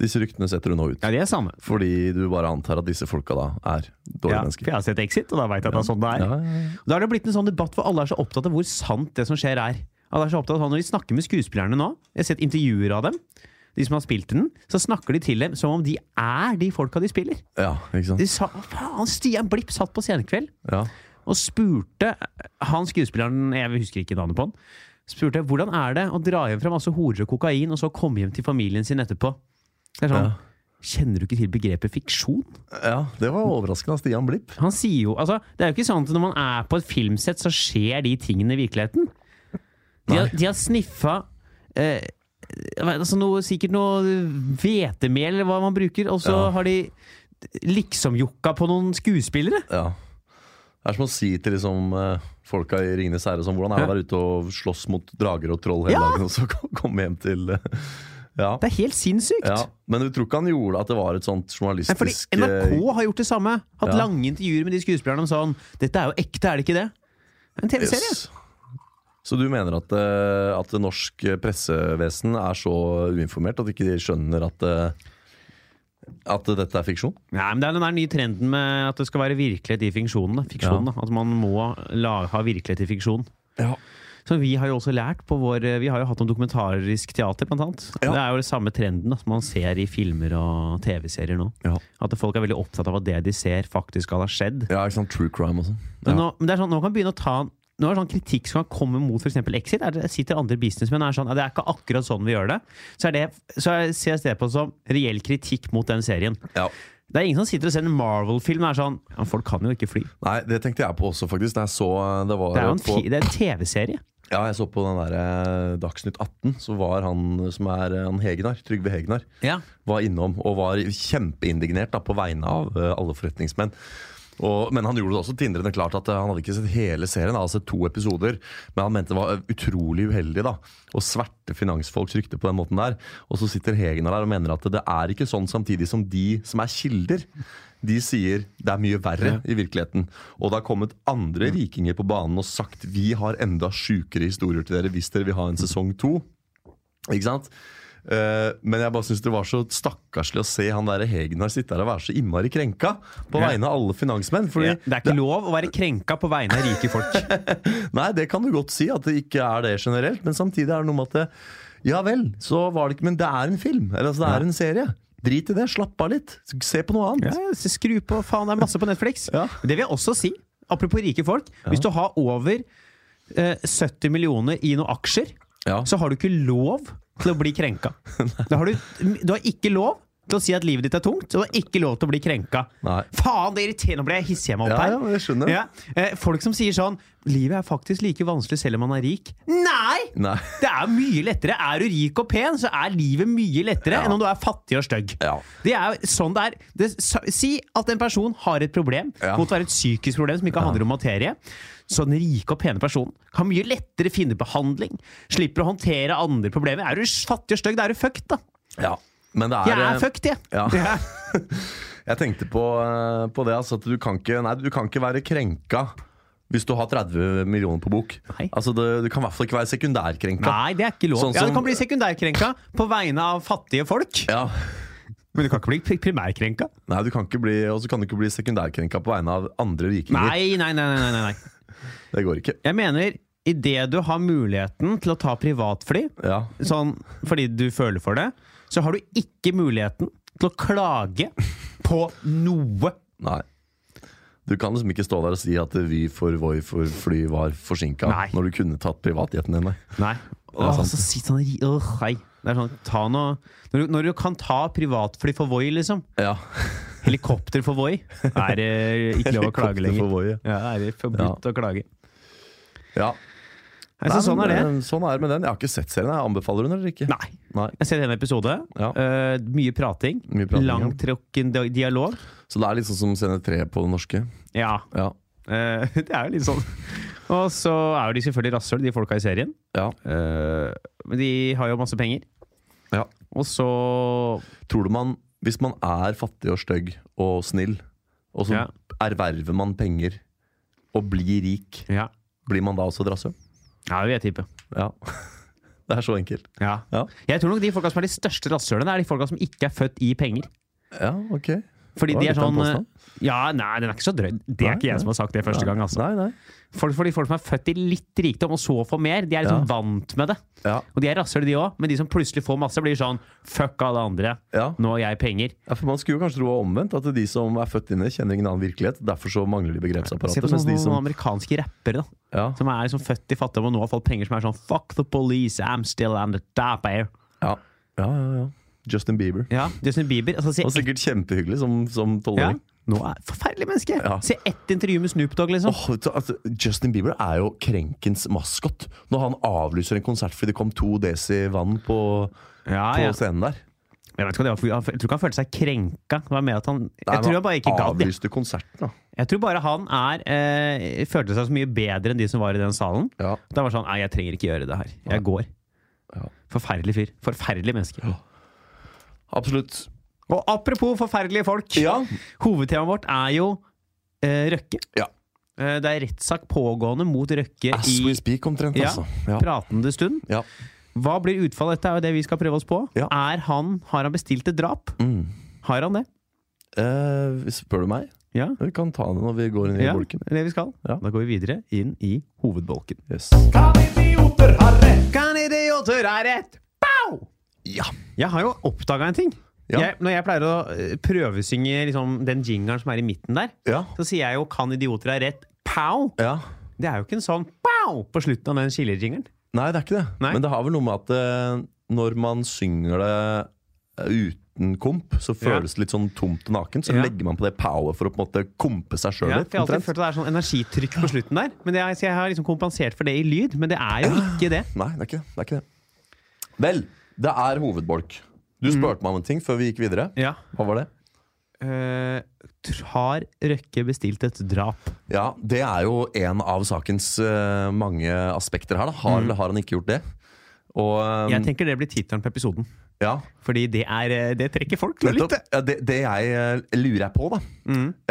[SPEAKER 3] disse ryktene setter du nå ut.
[SPEAKER 2] Ja, det er samme.
[SPEAKER 3] Fordi du bare antar at disse folka da er dårlige
[SPEAKER 2] Ja, for
[SPEAKER 3] mennesker.
[SPEAKER 2] jeg har sett Exit, og da veit jeg at det er sånn det er.
[SPEAKER 3] Ja, ja, ja.
[SPEAKER 2] Da har det blitt en sånn debatt hvor alle er så opptatt av hvor sant det som skjer er. Alle er så opptatt av Når de snakker med skuespillerne nå, jeg har sett intervjuer av dem, de som har spilt i den, så snakker de til dem som om de er de folka de spiller.
[SPEAKER 3] ja, ikke sant?
[SPEAKER 2] De sa, faen, Stian Blipp satt på scenekveld
[SPEAKER 3] Ja.
[SPEAKER 2] og spurte han skuespilleren, jeg husker ikke navnet på han, spurte hvordan er det å dra hjem fra masse horer og kokain og så komme hjem til familien sin etterpå. Det er sånn,
[SPEAKER 3] Ja.
[SPEAKER 2] Kjenner du ikke til begrepet fiksjon?
[SPEAKER 3] ja, det var overraskende av Stian Blipp.
[SPEAKER 2] Han sier jo, altså, Det er jo ikke sånn at når man er på et filmsett, så skjer de tingene i virkeligheten. De har, de har sniffa eh, jeg vet, altså noe, sikkert noe hvetemel, eller hva man bruker, og så
[SPEAKER 3] Ja.
[SPEAKER 2] har de liksom-jokka på noen skuespillere.
[SPEAKER 3] Ja. Det er som å si til liksom, eh, folka i Ringenes herre sånn, hvordan er det å være ute og slåss mot drager og troll hele
[SPEAKER 2] Ja.
[SPEAKER 3] dagen, og så kom- komme hjem til eh, ja.
[SPEAKER 2] Det er helt sinnssykt!
[SPEAKER 3] ja. Men du tror ikke han gjorde at det var et sånt
[SPEAKER 2] Nei, fordi
[SPEAKER 3] journalistisk
[SPEAKER 2] NRK
[SPEAKER 3] eh,
[SPEAKER 2] har gjort det samme. Hatt
[SPEAKER 3] Ja.
[SPEAKER 2] lange intervjuer med de skuespillerne om sånn Dette er jo ekte, er det ikke det? Det er En TV-serie.
[SPEAKER 3] yes. Så du mener at, eh, at det norsk pressevesen er så uinformert at ikke de skjønner at, eh, at dette er fiksjon?
[SPEAKER 2] Nei, men Det er den der nye trenden med at det skal være virkelighet i fiksjonen. da. Fiksjon,
[SPEAKER 3] Ja.
[SPEAKER 2] da. At man må la, ha virkelighet i fiksjon.
[SPEAKER 3] Ja.
[SPEAKER 2] Så vi har jo også lært på vår eh, Vi har jo hatt om dokumentarisk teater, blant annet.
[SPEAKER 3] Ja.
[SPEAKER 2] Det er jo det samme trenden da, som man ser i filmer og TV-serier nå.
[SPEAKER 3] Ja.
[SPEAKER 2] At folk er veldig opptatt av at det de ser, faktisk skal ha skjedd.
[SPEAKER 3] ikke sant? True crime og sånn.
[SPEAKER 2] Men
[SPEAKER 3] Ja.
[SPEAKER 2] nå, men det er sånn, nå kan man begynne å ta nå er det sånn kritikk som kan komme mot f.eks. Exit. Er det, sitter andre businessmenn og er sånn «Ja, Det er ikke akkurat sånn vi gjør det. Så, er det, så er, ses det på som reell kritikk mot den serien.
[SPEAKER 3] Ja.
[SPEAKER 2] Det er ingen som sitter og ser en Marvel-film og er sånn ja, men Folk kan jo ikke fly.
[SPEAKER 3] Nei, det tenkte jeg på også, faktisk. Da jeg så det var
[SPEAKER 2] Det er jo en,
[SPEAKER 3] på-
[SPEAKER 2] fi- det er en TV-serie.
[SPEAKER 3] Ja, jeg så på den der eh, Dagsnytt 18, så var han som er eh, han Hegnar, Trygve Hegnar,
[SPEAKER 2] Ja.
[SPEAKER 3] var innom og var kjempeindignert da, på vegne av eh, alle forretningsmenn. Og, men han gjorde det også tindrende klart at eh, han hadde ikke sett hele serien, han hadde sett to episoder, men han mente det var eh, utrolig uheldig da, å sverte finansfolks rykte på den måten der. Og så sitter Hegnar der og mener at det er ikke sånn samtidig som de som er kilder, de sier det er mye verre i virkeligheten. Og det har kommet andre rikinger på banen og sagt vi har enda sjukere historier til dere hvis dere vil ha en sesong to. Ikke sant? Eh, men jeg bare syns det var så stakkarslig å se han der Hegnar sitte der og være så innmari krenka på
[SPEAKER 2] Ja.
[SPEAKER 3] vegne av alle finansmenn. Fordi
[SPEAKER 2] Ja, det er ikke lov å være krenka på vegne av rike folk.
[SPEAKER 3] Nei, det kan du godt si, at det ikke er det generelt. Men samtidig er det noe med at det, Ja vel, så var det ikke Men det er en film. Eller altså, det er en serie. Drit i det. Slapp av litt. Se på noe annet.
[SPEAKER 2] Ja, ja, så skru på, faen, det er masse på Netflix.
[SPEAKER 3] Ja.
[SPEAKER 2] Det vil jeg også si, apropos rike folk. Hvis du har over eh, 70 millioner i noen aksjer,
[SPEAKER 3] Ja.
[SPEAKER 2] så har du ikke lov til å bli krenka. Da har du, du har ikke lov til å si at livet ditt er tungt, og du har ikke lov til å bli krenka.
[SPEAKER 3] Nei.
[SPEAKER 2] Faen, det irriterer Nå ble jeg hissig meg opp
[SPEAKER 3] Ja,
[SPEAKER 2] her.
[SPEAKER 3] ja, men jeg skjønner.
[SPEAKER 2] Ja. Eh, folk som sier sånn Livet er faktisk like vanskelig selv om man er rik. Nei!
[SPEAKER 3] Nei.
[SPEAKER 2] Det er mye lettere. Er du rik og pen, så er livet mye lettere enn om du er fattig og stygg.
[SPEAKER 3] Ja.
[SPEAKER 2] Det er jo sånn det er. Det, sa- si at en person har et problem,
[SPEAKER 3] Ja.
[SPEAKER 2] mot å være et psykisk problem som ikke handler om materie. Så den rike og pene personen kan mye lettere finne behandling. Slipper å håndtere andre problemer. Er du fattig og stygg, da er du fucked, da.
[SPEAKER 3] ja. Men det er
[SPEAKER 2] Jeg
[SPEAKER 3] eh,
[SPEAKER 2] er fucked, jeg.
[SPEAKER 3] Ja. Jeg tenkte på, eh, på det, altså, at du kan, ikke, nei, du kan ikke være krenka hvis du har 30 millioner på bok.
[SPEAKER 2] Nei.
[SPEAKER 3] Altså, det, du kan i hvert fall ikke være sekundærkrenka.
[SPEAKER 2] Nei, det er ikke lov.
[SPEAKER 3] Sånn
[SPEAKER 2] ja,
[SPEAKER 3] som-
[SPEAKER 2] du kan bli sekundærkrenka på vegne av fattige folk.
[SPEAKER 3] Ja.
[SPEAKER 2] Men du kan ikke bli pri- primærkrenka.
[SPEAKER 3] Nei, du kan ikke bli, og så kan du ikke bli sekundærkrenka på vegne av andre rikinger.
[SPEAKER 2] Nei, nei, nei, nei, nei, nei.
[SPEAKER 3] Det går ikke.
[SPEAKER 2] Jeg mener, idet du har muligheten til å ta privatfly,
[SPEAKER 3] Ja.
[SPEAKER 2] sånn, fordi du føler for det, så har du ikke muligheten til å klage på noe.
[SPEAKER 3] Nei. Du kan liksom ikke stå der og si at Vy for Voi for fly var forsinka
[SPEAKER 2] Nei.
[SPEAKER 3] når du kunne tatt privatjeten din. nei.
[SPEAKER 2] Nei.
[SPEAKER 3] er
[SPEAKER 2] Åh,
[SPEAKER 3] sant.
[SPEAKER 2] så sitter han i Åh, hei. Det er sånn, ta noe Når du, når du kan ta privatfly for Voi, liksom.
[SPEAKER 3] Ja.
[SPEAKER 2] Helikopter for Voi. Da er det ikke lov å klage lenger.
[SPEAKER 3] Voie.
[SPEAKER 2] Ja, da er det forbudt å klage.
[SPEAKER 3] Ja.
[SPEAKER 2] Nei, så sånn
[SPEAKER 3] men,
[SPEAKER 2] er det.
[SPEAKER 3] eh, Sånn er det med den. Jeg har ikke sett serien. jeg Anbefaler du den eller ikke?
[SPEAKER 2] Nei.
[SPEAKER 3] Nei.
[SPEAKER 2] Jeg ser en episode.
[SPEAKER 3] Ja.
[SPEAKER 2] Eh, mye prating.
[SPEAKER 3] Mye prating, ja.
[SPEAKER 2] Langtrukken di- dialog.
[SPEAKER 3] Så det er liksom som scene tre på det norske.
[SPEAKER 2] Ja,
[SPEAKER 3] Ja.
[SPEAKER 2] eh, det er jo litt sånn. Og så er jo de selvfølgelig rasshøl, de folka i serien.
[SPEAKER 3] ja.
[SPEAKER 2] Eh, Men de har jo masse penger.
[SPEAKER 3] ja.
[SPEAKER 2] Og så
[SPEAKER 3] Tror du man, hvis man er fattig og stygg og snill, og så
[SPEAKER 2] Ja.
[SPEAKER 3] erverver man penger og blir rik,
[SPEAKER 2] Ja,
[SPEAKER 3] blir man da også et rasshøl?
[SPEAKER 2] ja det vil jeg tippe.
[SPEAKER 3] Ja. Det er så enkelt.
[SPEAKER 2] Ja.
[SPEAKER 3] Ja.
[SPEAKER 2] Jeg tror nok de folka som er de største rasshølene, er de folka som ikke er født i penger.
[SPEAKER 3] Ja, ok.
[SPEAKER 2] Fordi
[SPEAKER 3] Det var
[SPEAKER 2] de er
[SPEAKER 3] litt av en
[SPEAKER 2] sånn
[SPEAKER 3] påstand.
[SPEAKER 2] eh, Ja, nei, den er ikke så drøy. Det
[SPEAKER 3] Nei,
[SPEAKER 2] er ikke
[SPEAKER 3] nei.
[SPEAKER 2] jeg som har sagt det første gang, altså.
[SPEAKER 3] Nei, nei.
[SPEAKER 2] Folk, fordi folk som er født i litt rikdom, og så får mer, de er liksom
[SPEAKER 3] Ja.
[SPEAKER 2] vant med det.
[SPEAKER 3] Ja.
[SPEAKER 2] Og de er rasshøl, de òg, men de som plutselig får masse, blir sånn Fuck alle andre,
[SPEAKER 3] Ja.
[SPEAKER 2] nå har jeg penger.
[SPEAKER 3] ja, for Man skulle jo kanskje tro det var omvendt, at de som er født inne, kjenner ingen annen virkelighet. Derfor så mangler de
[SPEAKER 2] Se på
[SPEAKER 3] begrepsapparatet. Mens de
[SPEAKER 2] noen
[SPEAKER 3] som
[SPEAKER 2] amerikanske rappere, da.
[SPEAKER 3] ja,
[SPEAKER 2] Som er liksom født i fattigdom og nå har fått penger som er sånn Fuck the police, I'm still on the top eh. air.
[SPEAKER 3] ja, ja, ja, ja. Justin Bieber.
[SPEAKER 2] Ja, Justin Bieber. Altså, se
[SPEAKER 3] Han var sikkert kjempehyggelig som, som
[SPEAKER 2] ja,
[SPEAKER 3] tolvåring.
[SPEAKER 2] nå er Forferdelig menneske!
[SPEAKER 3] Ja.
[SPEAKER 2] Se ett intervju med Snoop Dogg, liksom.
[SPEAKER 3] Åh, vet du, altså, Justin Bieber er jo krenkens maskot når han avlyser en konsert fordi det kom to desi vann på,
[SPEAKER 2] ja,
[SPEAKER 3] på
[SPEAKER 2] Ah, ja.
[SPEAKER 3] scenen der.
[SPEAKER 2] Jeg, vet ikke hva det var, for han- jeg tror ikke han følte seg krenka. Det var mer at han,
[SPEAKER 3] Nei,
[SPEAKER 2] jeg tror
[SPEAKER 3] men
[SPEAKER 2] han bare ikke gadd. jeg.
[SPEAKER 3] Avlyste konserten, da.
[SPEAKER 2] Jeg tror bare han er eh, følte seg så mye bedre enn de som var i den salen.
[SPEAKER 3] Ja.
[SPEAKER 2] Da var det sånn Nei, jeg trenger ikke gjøre det her. Jeg går.
[SPEAKER 3] Ja.
[SPEAKER 2] Forferdelig fyr. Forferdelig menneske.
[SPEAKER 3] Absolutt.
[SPEAKER 2] Og apropos forferdelige folk.
[SPEAKER 3] Ja.
[SPEAKER 2] Hovedtemaet vårt er jo eh, Røkke.
[SPEAKER 3] Ja.
[SPEAKER 2] Eh, det er rettssak pågående mot Røkke
[SPEAKER 3] As
[SPEAKER 2] i
[SPEAKER 3] we speak, omtrent.
[SPEAKER 2] Ja.
[SPEAKER 3] Altså. Ja.
[SPEAKER 2] pratende stund.
[SPEAKER 3] Ja.
[SPEAKER 2] Hva blir utfallet? Dette er jo det vi skal prøve oss på.
[SPEAKER 3] Ja.
[SPEAKER 2] Er han, har han bestilt et drap?
[SPEAKER 3] Mm.
[SPEAKER 2] Har han det?
[SPEAKER 3] Eh, spør du meg?
[SPEAKER 2] Ja.
[SPEAKER 3] Vi kan ta det når vi går inn i
[SPEAKER 2] ja
[SPEAKER 3] bolken.
[SPEAKER 2] det er det vi skal.
[SPEAKER 3] Ja.
[SPEAKER 2] Da går vi videre inn i hovedbolken.
[SPEAKER 3] Yes.
[SPEAKER 2] Kan idioter ha rett? Pow!
[SPEAKER 3] Ja.
[SPEAKER 2] Jeg har jo oppdaga en ting.
[SPEAKER 3] Ja.
[SPEAKER 2] Jeg, når jeg pleier å eh, prøvesynge liksom, den jingeren som er i midten der,
[SPEAKER 3] Ja.
[SPEAKER 2] så sier jeg jo 'kan idioter ha rett'? Pow!
[SPEAKER 3] ja.
[SPEAKER 2] Det er jo ikke en sånn pow på slutten av den skillejingeren.
[SPEAKER 3] Nei, det er ikke det.
[SPEAKER 2] Nei.
[SPEAKER 3] Men det har vel noe med at eh, når man synger det eh, uten komp, så
[SPEAKER 2] Ja.
[SPEAKER 3] føles det litt sånn tomt og nakent. Så
[SPEAKER 2] Ja.
[SPEAKER 3] legger man på det power for å på en måte kompe seg sjøl
[SPEAKER 2] Ja,
[SPEAKER 3] litt.
[SPEAKER 2] for jeg har alltid
[SPEAKER 3] omtrent.
[SPEAKER 2] følt at det er sånn energitrykk på slutten der. Men det er, så jeg har liksom kompensert for det i lyd, men det er jo ikke det.
[SPEAKER 3] Nei, det er ikke det. det, er ikke det. Vel, det er hovedbolk. Du spurte meg om en ting før vi gikk videre.
[SPEAKER 2] Mm. Ja.
[SPEAKER 3] Hva var det?
[SPEAKER 2] Eh, har Røkke bestilt et drap?
[SPEAKER 3] Ja, Det er jo en av sakens eh, mange aspekter her. Da. Har
[SPEAKER 2] Mm.
[SPEAKER 3] eller har han ikke gjort det? Og, eh,
[SPEAKER 2] Jeg tenker det blir tittelen på episoden.
[SPEAKER 3] ja,
[SPEAKER 2] Fordi det, er, eh, det trekker folk til å
[SPEAKER 3] nettopp.
[SPEAKER 2] lytte.
[SPEAKER 3] Ja, det, det jeg eh, lurer på, da,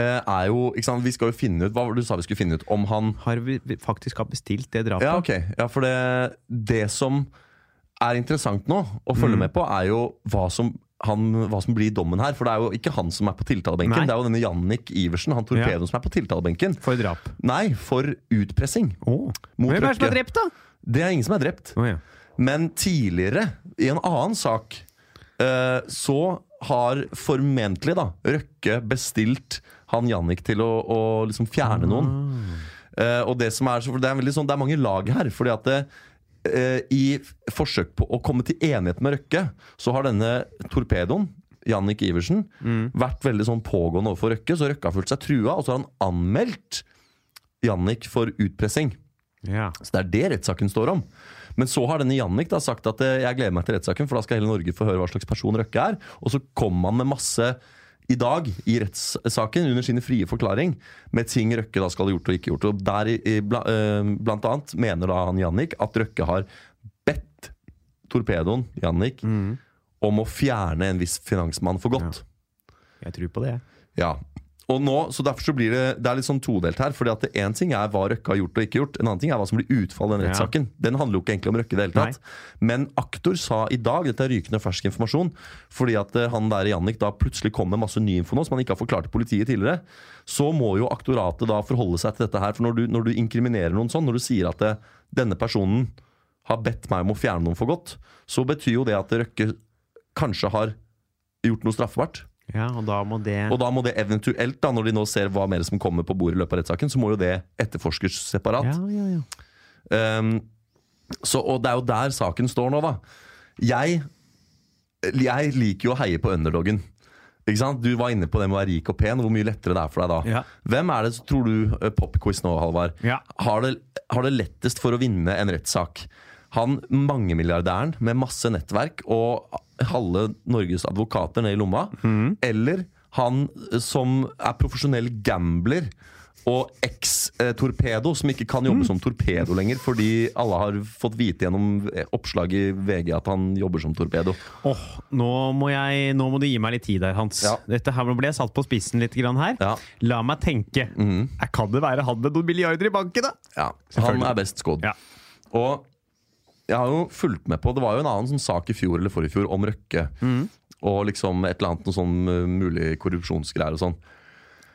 [SPEAKER 3] eh, er jo ikke sant, Vi skal jo finne ut Hva var det du sa vi skulle finne ut? Om han
[SPEAKER 2] Har vi vi faktisk har bestilt det drapet?
[SPEAKER 3] Ja, ok. Ja, for det, det som er interessant nå å følge med på, er jo hva som, han, hva som blir dommen her. For det er jo ikke han som er på tiltalebenken.
[SPEAKER 2] Nei.
[SPEAKER 3] Det er jo denne Jannik Iversen, han torpedoen som er på tiltalebenken.
[SPEAKER 2] For drap.
[SPEAKER 3] Nei, for utpressing.
[SPEAKER 2] Oh. Hvem
[SPEAKER 3] Mot
[SPEAKER 2] er det som er
[SPEAKER 3] Røkke.
[SPEAKER 2] drept, da?
[SPEAKER 3] Det er ingen som er drept.
[SPEAKER 2] Å, ja.
[SPEAKER 3] Men tidligere, i en annen sak, eh, så har formentlig da Røkke bestilt han Jannik til å, å liksom fjerne noen. Eh, og det som er så, for det er, veldig sånn, det er mange lag her. fordi at det, eh, I forsøk på å komme til enighet med Røkke, så har denne torpedoen, Jannik Iversen, vært veldig sånn pågående overfor Røkke. Så Røkke har følt seg trua, og så har han anmeldt Jannik for utpressing.
[SPEAKER 2] Ja.
[SPEAKER 3] Så det er det rettssaken står om. Men så har denne Jannik da sagt at eh, jeg gleder meg til rettssaken, for da skal hele Norge få høre hva slags person Røkke er. Og så kom han med masse i dag i rettssaken under sine frie forklaring med ting Røkke da skal ha gjort og ikke gjort. Og der i, i, bla- eh, blant annet mener da han Jannik at Røkke har bedt torpedoen Jannik om å fjerne en viss finansmann for godt.
[SPEAKER 2] Jeg tror på det.
[SPEAKER 3] Ja. Og nå, så derfor så blir det, det er litt sånn todelt her. fordi at Én ting er hva Røkke har gjort og ikke gjort. En annen ting er hva som blir utfallet av den
[SPEAKER 2] Ja.
[SPEAKER 3] rettssaken. Den handler jo ikke egentlig om Røkke i det hele tatt. Men aktor sa i dag, dette er rykende fersk informasjon, fordi at eh, han der Jannik da plutselig kom med masse ny info nå som han ikke har forklart til politiet tidligere, så må jo aktoratet da forholde seg til dette her. For når du, når du inkriminerer noen sånn, når du sier at eh, denne personen har bedt meg om å fjerne noen for godt, så betyr jo det at Røkke kanskje har gjort noe straffbart.
[SPEAKER 2] Ja, og da må det
[SPEAKER 3] Og da må det eventuelt, da, når de nå ser hva mer som kommer på bordet i løpet av rettssaken, så må jo det etterforskes separat. Ehm,
[SPEAKER 2] ja, ja, ja.
[SPEAKER 3] Um, så, og det er jo der saken står nå, da. Jeg Jeg liker jo å heie på underdogen. Ikke sant? Du var inne på det med å være rik og pen. Hvor mye lettere det er for deg da.
[SPEAKER 2] Ja.
[SPEAKER 3] Hvem er det, tror du, eh, popquiz nå, Halvard,
[SPEAKER 2] Ja.
[SPEAKER 3] har, det, har det lettest for å vinne en rettssak? Han mangemilliardæren med masse nettverk og halve Norges advokater ned i lomma? Eller han eh, som er profesjonell gambler? Og eks-torpedo, som ikke kan jobbe som torpedo lenger fordi alle har fått vite gjennom eh, oppslag i VG at han jobber som torpedo.
[SPEAKER 2] Åh, nå, må jeg, nå må du gi meg litt tid der, Hans.
[SPEAKER 3] Ja.
[SPEAKER 2] Dette her nå ble jeg satt på spissen litt grann her.
[SPEAKER 3] Ja. Mhm.
[SPEAKER 2] La meg tenke. Eh, Kan det være han med noen milliarder i banken, da?
[SPEAKER 3] Ja, Han
[SPEAKER 2] Selvfølgelig.
[SPEAKER 3] er best skodd.
[SPEAKER 2] Ja.
[SPEAKER 3] Og jeg har jo fulgt med på Det var jo en annen sånn sak i fjor eller forrige fjor om Røkke. Og liksom et eller annet noe sånn eh, mulig korrupsjonsgreier og sånn.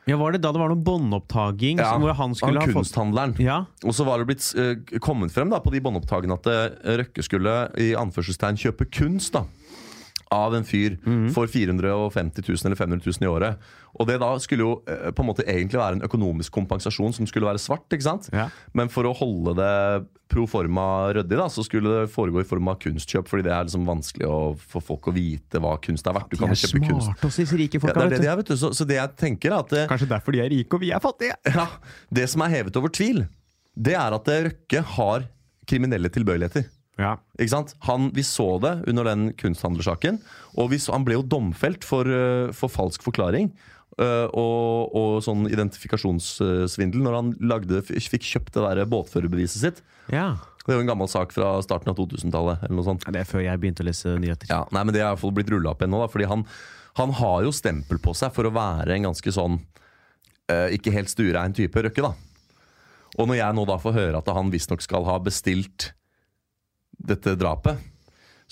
[SPEAKER 2] Ja, Var det da det var noen båndopptaking
[SPEAKER 3] Ja,
[SPEAKER 2] som- hvor han skulle ha fått
[SPEAKER 3] kunsthandleren.
[SPEAKER 2] Ja,
[SPEAKER 3] Og så var det blitt eh, kommet frem da på de båndopptakene at eh, Røkke skulle i anførselstegn kjøpe kunst da av en fyr
[SPEAKER 2] Mhm.
[SPEAKER 3] for 450 000 eller 500 000 i året. Og det da skulle jo eh, på en måte egentlig være en økonomisk kompensasjon som skulle være svart. ikke sant?
[SPEAKER 2] Ja.
[SPEAKER 3] Men for å holde det pro forma ryddig, da, så skulle det foregå i form av kunstkjøp. Fordi det er liksom vanskelig å, for folk å vite hva kunst er verdt. Du kan
[SPEAKER 2] De er
[SPEAKER 3] jo kjøpe kunst.
[SPEAKER 2] smarte, også, disse rike
[SPEAKER 3] Ja,
[SPEAKER 2] folka.
[SPEAKER 3] det er
[SPEAKER 2] vet
[SPEAKER 3] det
[SPEAKER 2] du.
[SPEAKER 3] de er, vet du. Så, så det jeg tenker er at eh,
[SPEAKER 2] Kanskje derfor de er rike og vi er fattige.
[SPEAKER 3] ja, Det som er hevet over tvil, det er at eh, Røkke har kriminelle tilbøyeligheter.
[SPEAKER 2] Ja.
[SPEAKER 3] Ikke sant? Han, vi så det under den kunsthandlersaken. Og vi så, han ble jo domfelt for, eh, for falsk forklaring eh, og, og sånn identifikasjonssvindel når han lagde, f- fikk kjøpt det der båtførerbeviset sitt.
[SPEAKER 2] ja.
[SPEAKER 3] Det er jo en gammel sak fra starten av 2000-tallet. eller noe sånt.
[SPEAKER 2] Det er før jeg begynte å lese nyheter.
[SPEAKER 3] Ja, nei, men Det er i hvert fall blitt rulla opp igjen nå. Da, fordi han, han har jo stempel på seg for å være en ganske sånn eh, ikke helt stuerein type Røkke. da Og når jeg nå da får høre at han visstnok skal ha bestilt dette drapet,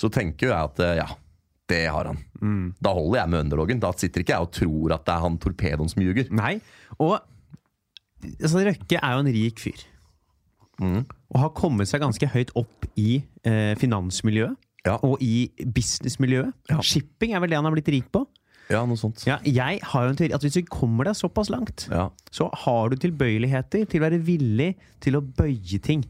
[SPEAKER 3] så tenker jo jeg at eh, ja, det har han.
[SPEAKER 2] Mm.
[SPEAKER 3] Da holder jeg med underdogen. Da sitter ikke jeg og tror at det er han torpedoen som ljuger.
[SPEAKER 2] Nei, og altså, Røkke er jo en rik fyr.
[SPEAKER 3] Mm.
[SPEAKER 2] Og har kommet seg ganske høyt opp i eh, finansmiljøet.
[SPEAKER 3] Ja.
[SPEAKER 2] Og i businessmiljøet.
[SPEAKER 3] Ja.
[SPEAKER 2] Shipping er vel det han har blitt rik på.
[SPEAKER 3] Ja, noe sånt.
[SPEAKER 2] Ja, jeg har jo en teori at Hvis du kommer deg såpass langt,
[SPEAKER 3] Ja.
[SPEAKER 2] så har du tilbøyeligheter til å være villig til å bøye ting.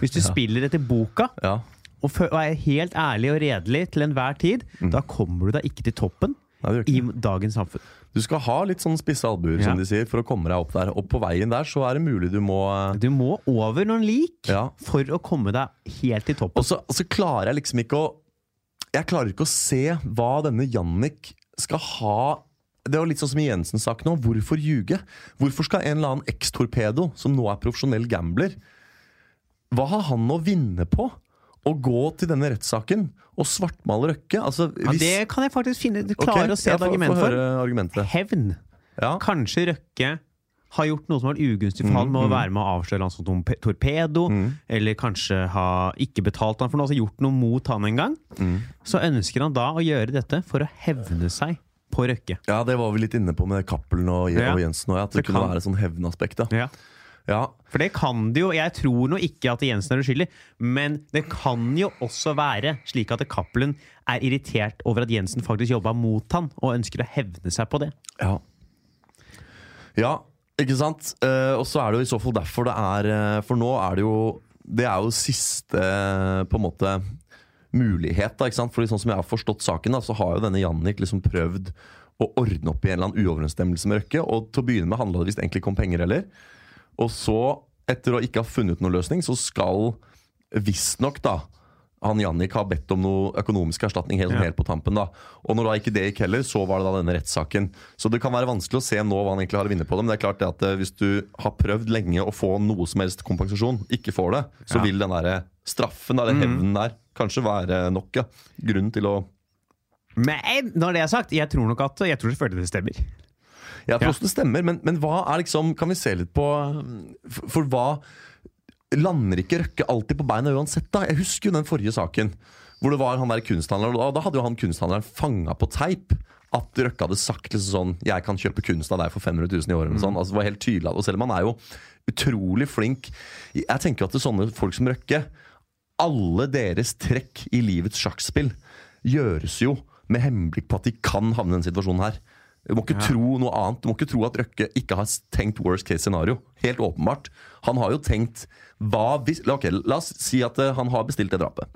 [SPEAKER 2] Hvis du spiller etter boka
[SPEAKER 3] Ja.
[SPEAKER 2] og, fø- og er helt ærlig og redelig til enhver tid,
[SPEAKER 3] Mm.
[SPEAKER 2] da kommer du deg ikke til toppen
[SPEAKER 3] Nei, det gjør ikke
[SPEAKER 2] i dagens samfunn.
[SPEAKER 3] Du skal ha litt sånn spisse albuer,
[SPEAKER 2] Ja.
[SPEAKER 3] som de sier, for å komme deg opp der. Og på veien der så er det mulig du må eh,
[SPEAKER 2] Du må over noen lik
[SPEAKER 3] Ja.
[SPEAKER 2] for å komme deg helt til toppen.
[SPEAKER 3] Og så, og så klarer jeg liksom ikke å Jeg klarer ikke å se hva denne Jannik skal ha Det var litt sånn som i Jensen-saken nå. Hvorfor ljuge? Hvorfor skal en eller annen ekstorpedo, som nå er profesjonell gambler Hva har han å vinne på å gå til denne rettssaken og svartmale Røkke? Altså,
[SPEAKER 2] Ja,
[SPEAKER 3] hvis-
[SPEAKER 2] det kan jeg faktisk finne,
[SPEAKER 3] Ok,
[SPEAKER 2] klare å se
[SPEAKER 3] jeg
[SPEAKER 2] et
[SPEAKER 3] får-
[SPEAKER 2] argument
[SPEAKER 3] får
[SPEAKER 2] for.
[SPEAKER 3] høre argumentet.
[SPEAKER 2] Hevn.
[SPEAKER 3] Ja.
[SPEAKER 2] Kanskje Røkke har gjort noe som har vært ugunstig for
[SPEAKER 3] Mm,
[SPEAKER 2] han med å være med å avsløre han som tom- torpedo, eller kanskje ha ikke betalt han for noe, altså gjort noe mot han en gang.
[SPEAKER 3] Mm.
[SPEAKER 2] Så ønsker han da å gjøre dette for å hevne seg på Røkke.
[SPEAKER 3] ja, det var vi litt inne på med Cappelen og,
[SPEAKER 2] Ja.
[SPEAKER 3] og Jensen òg. At det,
[SPEAKER 2] Det
[SPEAKER 3] kunne
[SPEAKER 2] kan-
[SPEAKER 3] være et sånn hevnaspekt. da.
[SPEAKER 2] Ja.
[SPEAKER 3] Ja,
[SPEAKER 2] For det kan det jo. Jeg tror nå ikke at Jensen er uskyldig, men det kan jo også være slik at Cappelen er irritert over at Jensen faktisk jobba mot han, og ønsker å hevne seg på det.
[SPEAKER 3] Ja. ja, ikke sant? Eh, og så er det jo i så fall derfor det er eh, For nå er det jo Det er jo siste eh, på en måte mulighet. da, ikke sant? Fordi sånn som jeg har forstått saken, da, så har jo denne Jannik liksom prøvd å ordne opp i en eller annen uoverensstemmelse med Røkke. Og til å begynne med handla det visst egentlig ikke om penger heller. Og så, etter å ikke ha funnet noen løsning, så skal visstnok da han Jannik har bedt om noe økonomisk erstatning helt,
[SPEAKER 2] Ja.
[SPEAKER 3] helt på tampen. da Og når da ikke det gikk heller, så var det da denne rettssaken. Så det kan være vanskelig å se nå hva han egentlig har å vinne på det, men det er klart det at eh, hvis du har prøvd lenge å få noe som helst kompensasjon, ikke får det,
[SPEAKER 2] Ja.
[SPEAKER 3] så
[SPEAKER 2] Mm.
[SPEAKER 3] vil den derre straffen, eller hevnen der, kanskje være nok. Ja. Grunnen til å
[SPEAKER 2] Men når det er sagt, jeg tror nok at Jeg tror selvfølgelig det stemmer.
[SPEAKER 3] Jeg tror
[SPEAKER 2] Ja.
[SPEAKER 3] også det stemmer, men, men hva er liksom Kan vi se litt på mm, For, for hva Lander ikke Røkke alltid på beina uansett, da? Jeg husker jo den forrige saken. Hvor det var han der kunsthandleren og Da, da hadde jo han kunsthandleren fanga på teip at Røkke hadde sagt liksom sånn 'Jeg kan kjøpe kunst av deg for 500 000 i året'. eller noe sånt. Altså, det var helt tydelig. Og selv om han er jo utrolig flink Jeg tenker at det er sånne folk som Røkke alle deres trekk i livets sjakkspill gjøres jo med henblikk på at de kan havne i denne situasjonen her. Du må ikke tro noe annet. Du må ikke tro at Røkke ikke har tenkt worst case scenario. Helt åpenbart. Han har jo tenkt hva hvis, la- ok, La oss si at eh, han har bestilt det drapet.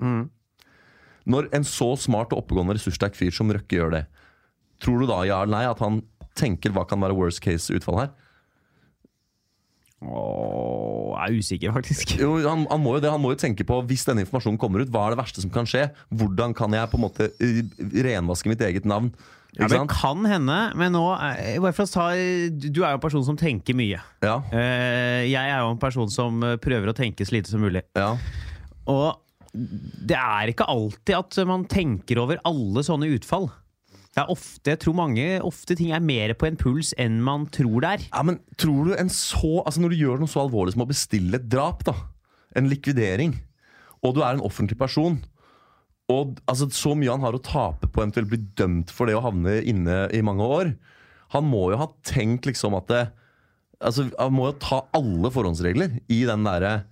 [SPEAKER 3] Når en så smart og oppegående ressurssterk fyr som Røkke gjør det, tror du da ja eller nei at han tenker hva kan være worst case utfall her?
[SPEAKER 2] Åh, jeg er usikker, faktisk.
[SPEAKER 3] Jo, han, han må jo det, han må jo tenke på hvis denne informasjonen kommer ut, hva er det verste som kan skje? Hvordan kan jeg på en måte eh, renvaske mitt eget navn?
[SPEAKER 2] Ja,
[SPEAKER 3] Ikke
[SPEAKER 2] det
[SPEAKER 3] sant?
[SPEAKER 2] kan hende, men nå eh, bare for å ta, Du er jo en person som tenker mye.
[SPEAKER 3] Ja,
[SPEAKER 2] Eh, Jeg er jo en person som eh, prøver å tenke så lite som mulig.
[SPEAKER 3] ja,
[SPEAKER 2] Og det er ikke alltid at man tenker over alle sånne utfall. Det er ofte, jeg tror mange, ofte ting er mer på en puls enn man tror det er.
[SPEAKER 3] ja, men tror du en så Altså Når du gjør noe så alvorlig som å bestille et drap, da en likvidering, og du er en offentlig person og altså, Så mye han har å tape på eventuelt bli dømt for det å havne inne i mange år Han må jo ha tenkt liksom at det, altså, Han må jo ta alle forhåndsregler i den, derre-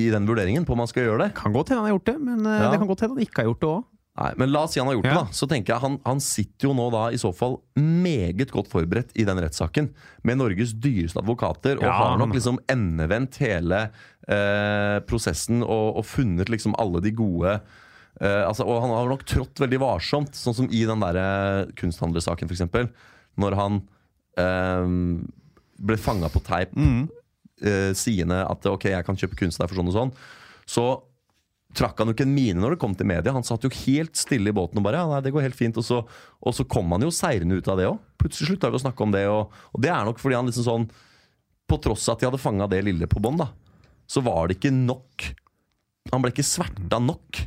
[SPEAKER 3] i den vurderingen på om han skal gjøre det.
[SPEAKER 2] Kan godt hende han har gjort det, men eh,
[SPEAKER 3] Ja.
[SPEAKER 2] det kan godt hende han ikke har gjort det òg.
[SPEAKER 3] Nei, Men la oss si han har gjort
[SPEAKER 2] Ja.
[SPEAKER 3] det, da. Så tenker jeg han, han sitter jo nå da i så fall meget godt forberedt i den rettssaken. Med Norges dyreste advokater, og
[SPEAKER 2] Ja,
[SPEAKER 3] har nok
[SPEAKER 2] han-
[SPEAKER 3] liksom endevendt hele eh, prosessen og, og funnet liksom alle de gode eh, altså, Og han har nok trådt veldig varsomt, sånn som i den derre eh, kunsthandlersaken, f.eks. Når han eh, ble fanga på teip eh, siende at ok, jeg kan kjøpe kunst der for sånn og sånn, så trakk han jo ikke en mine når det kom til media. Han satt jo helt stille i båten og bare ja, nei, det går helt fint. Og så, og så kom han jo seirende ut av det òg. Plutselig slutta vi å snakke om det. Og, og det er nok fordi han liksom sånn På tross av at de hadde fanga det lille på bånn, da, så var det ikke nok. Han ble ikke sverta nok.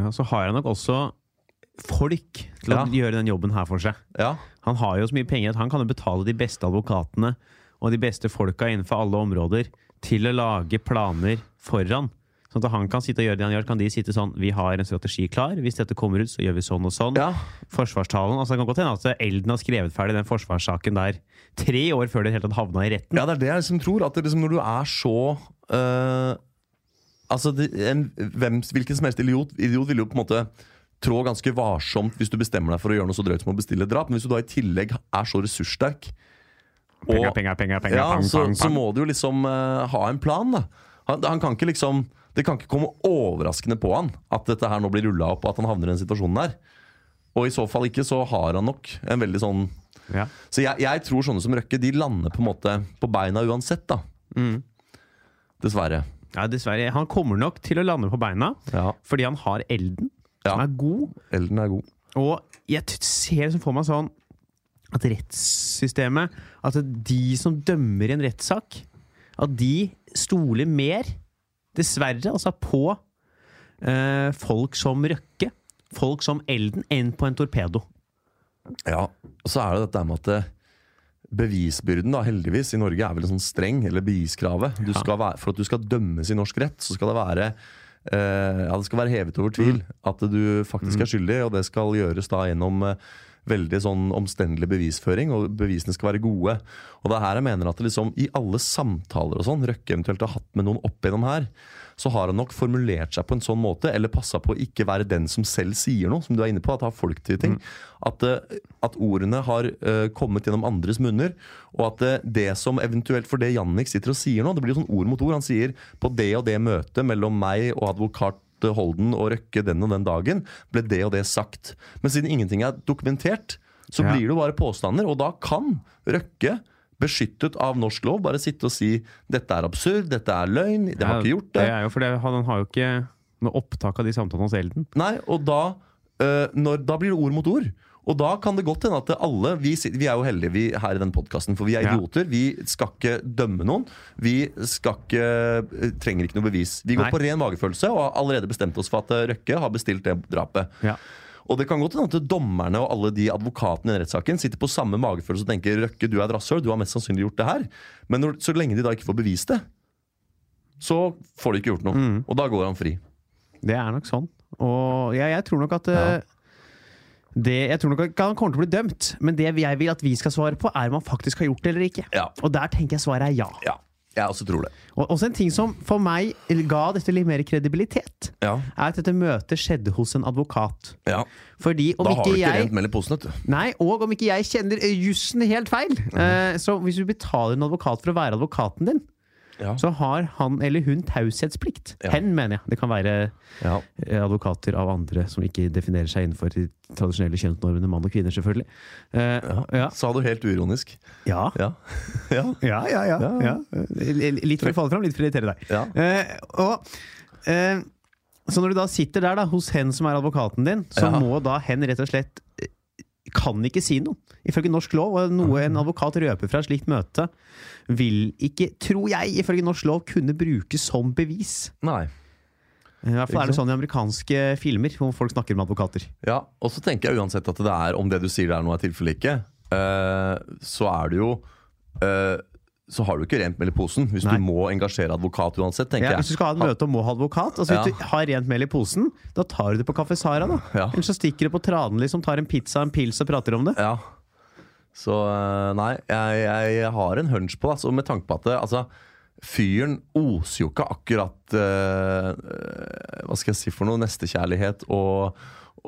[SPEAKER 2] Ja, så har jeg nok også folk til å
[SPEAKER 3] Ja.
[SPEAKER 2] gjøre den jobben her for seg.
[SPEAKER 3] Ja,
[SPEAKER 2] Han har jo så mye penger at han kan jo betale de beste advokatene og de beste folka innenfor alle områder til å lage planer foran. Sånn at han kan sitte og gjøre det han gjør, kan de sitte sånn Vi har en strategi klar. Hvis dette kommer ut, så gjør vi sånn og sånn.
[SPEAKER 3] ja.
[SPEAKER 2] Forsvarstalen altså Det kan godt hende at Elden har skrevet ferdig den forsvarssaken der tre år før det hele tatt havna i retten.
[SPEAKER 3] Ja, det er det jeg liksom tror. At det liksom når du er så eh, Altså, det, en, hvem, Hvilken som helst idiot, idiot vil jo på en måte trå ganske varsomt hvis du bestemmer deg for å gjøre noe så drøyt som å bestille et drap. Men hvis du da i tillegg er så ressurssterk
[SPEAKER 2] Penger, penger, penger, penger,
[SPEAKER 3] ja,
[SPEAKER 2] pang,
[SPEAKER 3] så,
[SPEAKER 2] pang,
[SPEAKER 3] så
[SPEAKER 2] pang.
[SPEAKER 3] må du jo liksom eh, ha en plan, da. Han, han kan ikke liksom Det kan ikke komme overraskende på han at dette her nå blir rulla opp, og at han havner i den situasjonen der. Og i så fall ikke, så har han nok en veldig sånn
[SPEAKER 2] Ja.
[SPEAKER 3] så jeg, jeg tror sånne som Røkke De lander på en måte på beina uansett da Dessverre
[SPEAKER 2] ja, dessverre. Han kommer nok til å lande på beina
[SPEAKER 3] Ja,
[SPEAKER 2] fordi han har Elden,
[SPEAKER 3] Ja.
[SPEAKER 2] som er god.
[SPEAKER 3] Elden er god
[SPEAKER 2] Og jeg t- ser liksom for meg sånn at rettssystemet At de som dømmer i en rettssak, at de stoler mer, dessverre, altså på eh, folk som Røkke, folk som Elden, enn på en torpedo.
[SPEAKER 3] Ja, og så er det dette med at eh, Bevisbyrden da, heldigvis i Norge er vel en sånn streng, eller beviskravet du skal være, For at du skal dømmes i norsk rett Så skal det være eh, ja, det skal være hevet over tvil At du faktisk er skyldig Og det skal gjøres da gjennom eh, Veldig sånn omstendelig bevisføring Og bevisene skal være gode Og det er her jeg mener at det liksom, i alle samtaler og sånn Røkke eventuelt har hatt med noen opp gjennom her Så har han nok formulert seg på en sånn måte Eller passet på å ikke være den som selv sier noe Som du er inne på, at har folk til
[SPEAKER 2] Mm.
[SPEAKER 3] ting at, eh, at ordene har eh, kommet gjennom andres munner, og at eh, det som eventuelt For det Jannik sitter og sier nå, det blir jo sånn ord mot ord. Han sier på det og det møtet mellom meg og advokat eh, Holden og Røkke den og den dagen, ble det og det sagt. Men siden ingenting er dokumentert, så
[SPEAKER 2] Ja.
[SPEAKER 3] blir det jo bare påstander, og da kan Røkke Beskyttet av norsk lov. Bare sitte og si 'dette er absurd', 'dette er løgn', 'det har ikke gjort det'.
[SPEAKER 2] Det er jo fordi han, han har jo ikke noe opptak av de samtalene hos Elden.
[SPEAKER 3] Nei, og da, eh, når, da blir det ord mot ord. Og da kan det godt hende at alle Vi, sit- vi er jo heldige vi, her i den podkasten, for vi er
[SPEAKER 2] Ja.
[SPEAKER 3] idioter. Vi skal ikke dømme noen. Vi skal ikke, eh, trenger ikke noe bevis. Vi går
[SPEAKER 2] Nei.
[SPEAKER 3] på ren magefølelse og har allerede bestemt oss for at eh, Røkke har bestilt det drapet.
[SPEAKER 2] Ja.
[SPEAKER 3] Og det kan godt hende at dommerne og alle de advokatene i den rettssaken sitter på samme magefølelse og tenker Røkke, du er et rasshøl, du har mest sannsynlig gjort det her. Men når, så lenge de da ikke får bevist det, så får de ikke gjort noe.
[SPEAKER 2] Mm.
[SPEAKER 3] Og da går han fri.
[SPEAKER 2] Det er nok sånn. Og jeg, jeg tror nok at eh, det, Jeg tror nok ikke han kommer til å bli dømt, men det jeg vil at vi skal svare på, er om han faktisk har gjort det eller ikke.
[SPEAKER 3] Ja.
[SPEAKER 2] Og der tenker jeg svaret er ja.
[SPEAKER 3] Ja, jeg også tror det.
[SPEAKER 2] Og også en ting som for meg ga dette litt mer kredibilitet,
[SPEAKER 3] Ja.
[SPEAKER 2] er at dette møtet skjedde hos en advokat.
[SPEAKER 3] Ja,
[SPEAKER 2] Fordi om
[SPEAKER 3] Da har
[SPEAKER 2] ikke
[SPEAKER 3] du ikke
[SPEAKER 2] jeg
[SPEAKER 3] rent mel i posen, vet du.
[SPEAKER 2] Nei, og om ikke jeg kjenner eh, jussen helt feil, eh, så hvis du betaler en advokat for å være advokaten din,
[SPEAKER 3] Ja.
[SPEAKER 2] så har han eller hun taushetsplikt.
[SPEAKER 3] Ja.
[SPEAKER 2] Hen, mener jeg. Det kan være
[SPEAKER 3] Ja.
[SPEAKER 2] eh, advokater av andre som ikke definerer seg innenfor de tradisjonelle kjønnsnormene mann og kvinner, selvfølgelig. Eh, ja.
[SPEAKER 3] Sa du helt uironisk.
[SPEAKER 2] Ja.
[SPEAKER 3] Ja. ja.
[SPEAKER 2] Ja, ja, ja.
[SPEAKER 3] Ja,
[SPEAKER 2] ja.
[SPEAKER 3] ja.
[SPEAKER 2] Eh, Litt for å falle fram, litt for å irritere deg.
[SPEAKER 3] ja.
[SPEAKER 2] Eh, og, eh, så når du da sitter der da, hos hen som er advokaten din, så
[SPEAKER 3] Ja.
[SPEAKER 2] må da hen rett og slett eh, kan ikke si noe. Ifølge norsk lov, og noe en advokat røper fra et slikt møte, vil ikke, tror jeg, ifølge norsk lov kunne brukes som bevis.
[SPEAKER 3] Nei.
[SPEAKER 2] Eh, I hvert fall er
[SPEAKER 3] Ikke
[SPEAKER 2] det sånn i amerikanske filmer, hvor folk snakker med advokater.
[SPEAKER 3] Ja, og så tenker jeg uansett at det er om det du sier der nå er tilfellet ikke, eh, så er det jo eh, så har du ikke rent mel i posen hvis
[SPEAKER 2] Nei.
[SPEAKER 3] du må engasjere advokat uansett, tenker
[SPEAKER 2] Ja, hvis
[SPEAKER 3] jeg.
[SPEAKER 2] du skal ha et møte og må ha advokat, altså hvis
[SPEAKER 3] Ja.
[SPEAKER 2] du har rent mel i posen, da tar du det på Kaffe Sara, da.
[SPEAKER 3] Ja.
[SPEAKER 2] Eller så stikker du på tranen, liksom, tar en pizza, en pils og prater om det.
[SPEAKER 3] Ja. Så eh, nei, jeg, jeg har en hunch på det, altså, med tanke på at det, altså, fyren oser jo ikke akkurat eh, eh, Hva skal jeg si for noe? Nestekjærlighet og